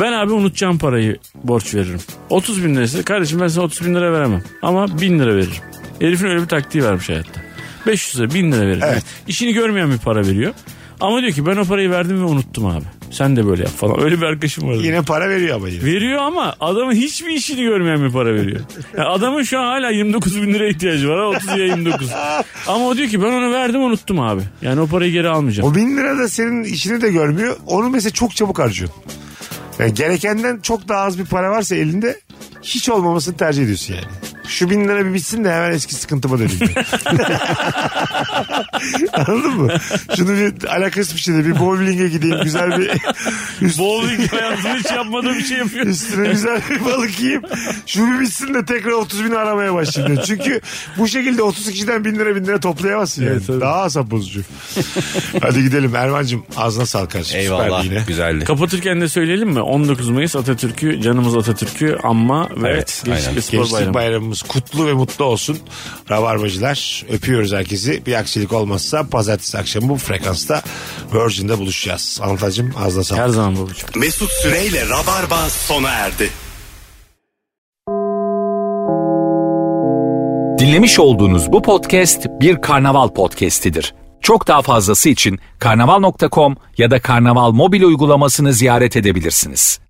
Ben abi unutacağım parayı borç veririm. 30 bin lira istedi. Kardeşim ben sana 30 bin lira veremem. Ama 1000 lira veririm. Herifin öyle bir taktiği varmış hayatta. 500 lira 1000 lira veririm. Evet. İşini görmeyen bir para veriyor. Ama diyor ki ben o parayı verdim ve unuttum abi. Sen de böyle yap falan. Öyle bir arkadaşım vardı. Yine para veriyor ama yine. Veriyor ama adamın hiçbir işini görmeyen bir para veriyor. Yani adamın şu an hala 29 bin liraya ihtiyacı var. ha, 30 ya 29. Ama o diyor ki ben onu verdim unuttum abi. Yani o parayı geri almayacağım. O 1000 lira da senin işini de görmüyor. Onu mesela çok çabuk harcıyorsun. Yani gerekenden çok daha az bir para varsa elinde hiç olmamasını tercih ediyorsun yani. Şu bin lira bir bitsin de hemen eski sıkıntıma döneyim. [laughs] Anladın mı? Şunu bir alakasız bir şeyde bir bowling'e gideyim güzel bir Bowling hayatımda hiç yapmadığım bir şey yapıyor. Üstüne güzel bir [laughs] balık yiyeyim. Şu bir bitsin de tekrar 30 bin aramaya başlayayım. diyor. Çünkü bu şekilde 30 kişiden 1000 lira 1000 lira toplayamazsın yani. Evet, tabii. Daha asap bozucu. Hadi gidelim. Erman'cığım ağzına sağlık kardeşim. Süperdi yine. Eyvallah. Güzeldi. Kapatırken de söyleyelim mi? 19 Mayıs Atatürk'ü, canımız Atatürk'ü anma ve Evet, Gençlik aynen. ve Spor Gençlik Bayramı. bayramımız kutlu ve mutlu olsun. Rabarbacılar öpüyoruz herkesi. Bir aksilik olmazsa pazartesi akşamı bu frekansta Virgin'de buluşacağız. Anlatacığım ağzına sağlık. Her zaman babacığım. Mesut Süreyle Rabarba sona erdi. Dinlemiş olduğunuz bu podcast bir karnaval podcastidir. Çok daha fazlası için karnaval.com ya da karnaval mobil uygulamasını ziyaret edebilirsiniz.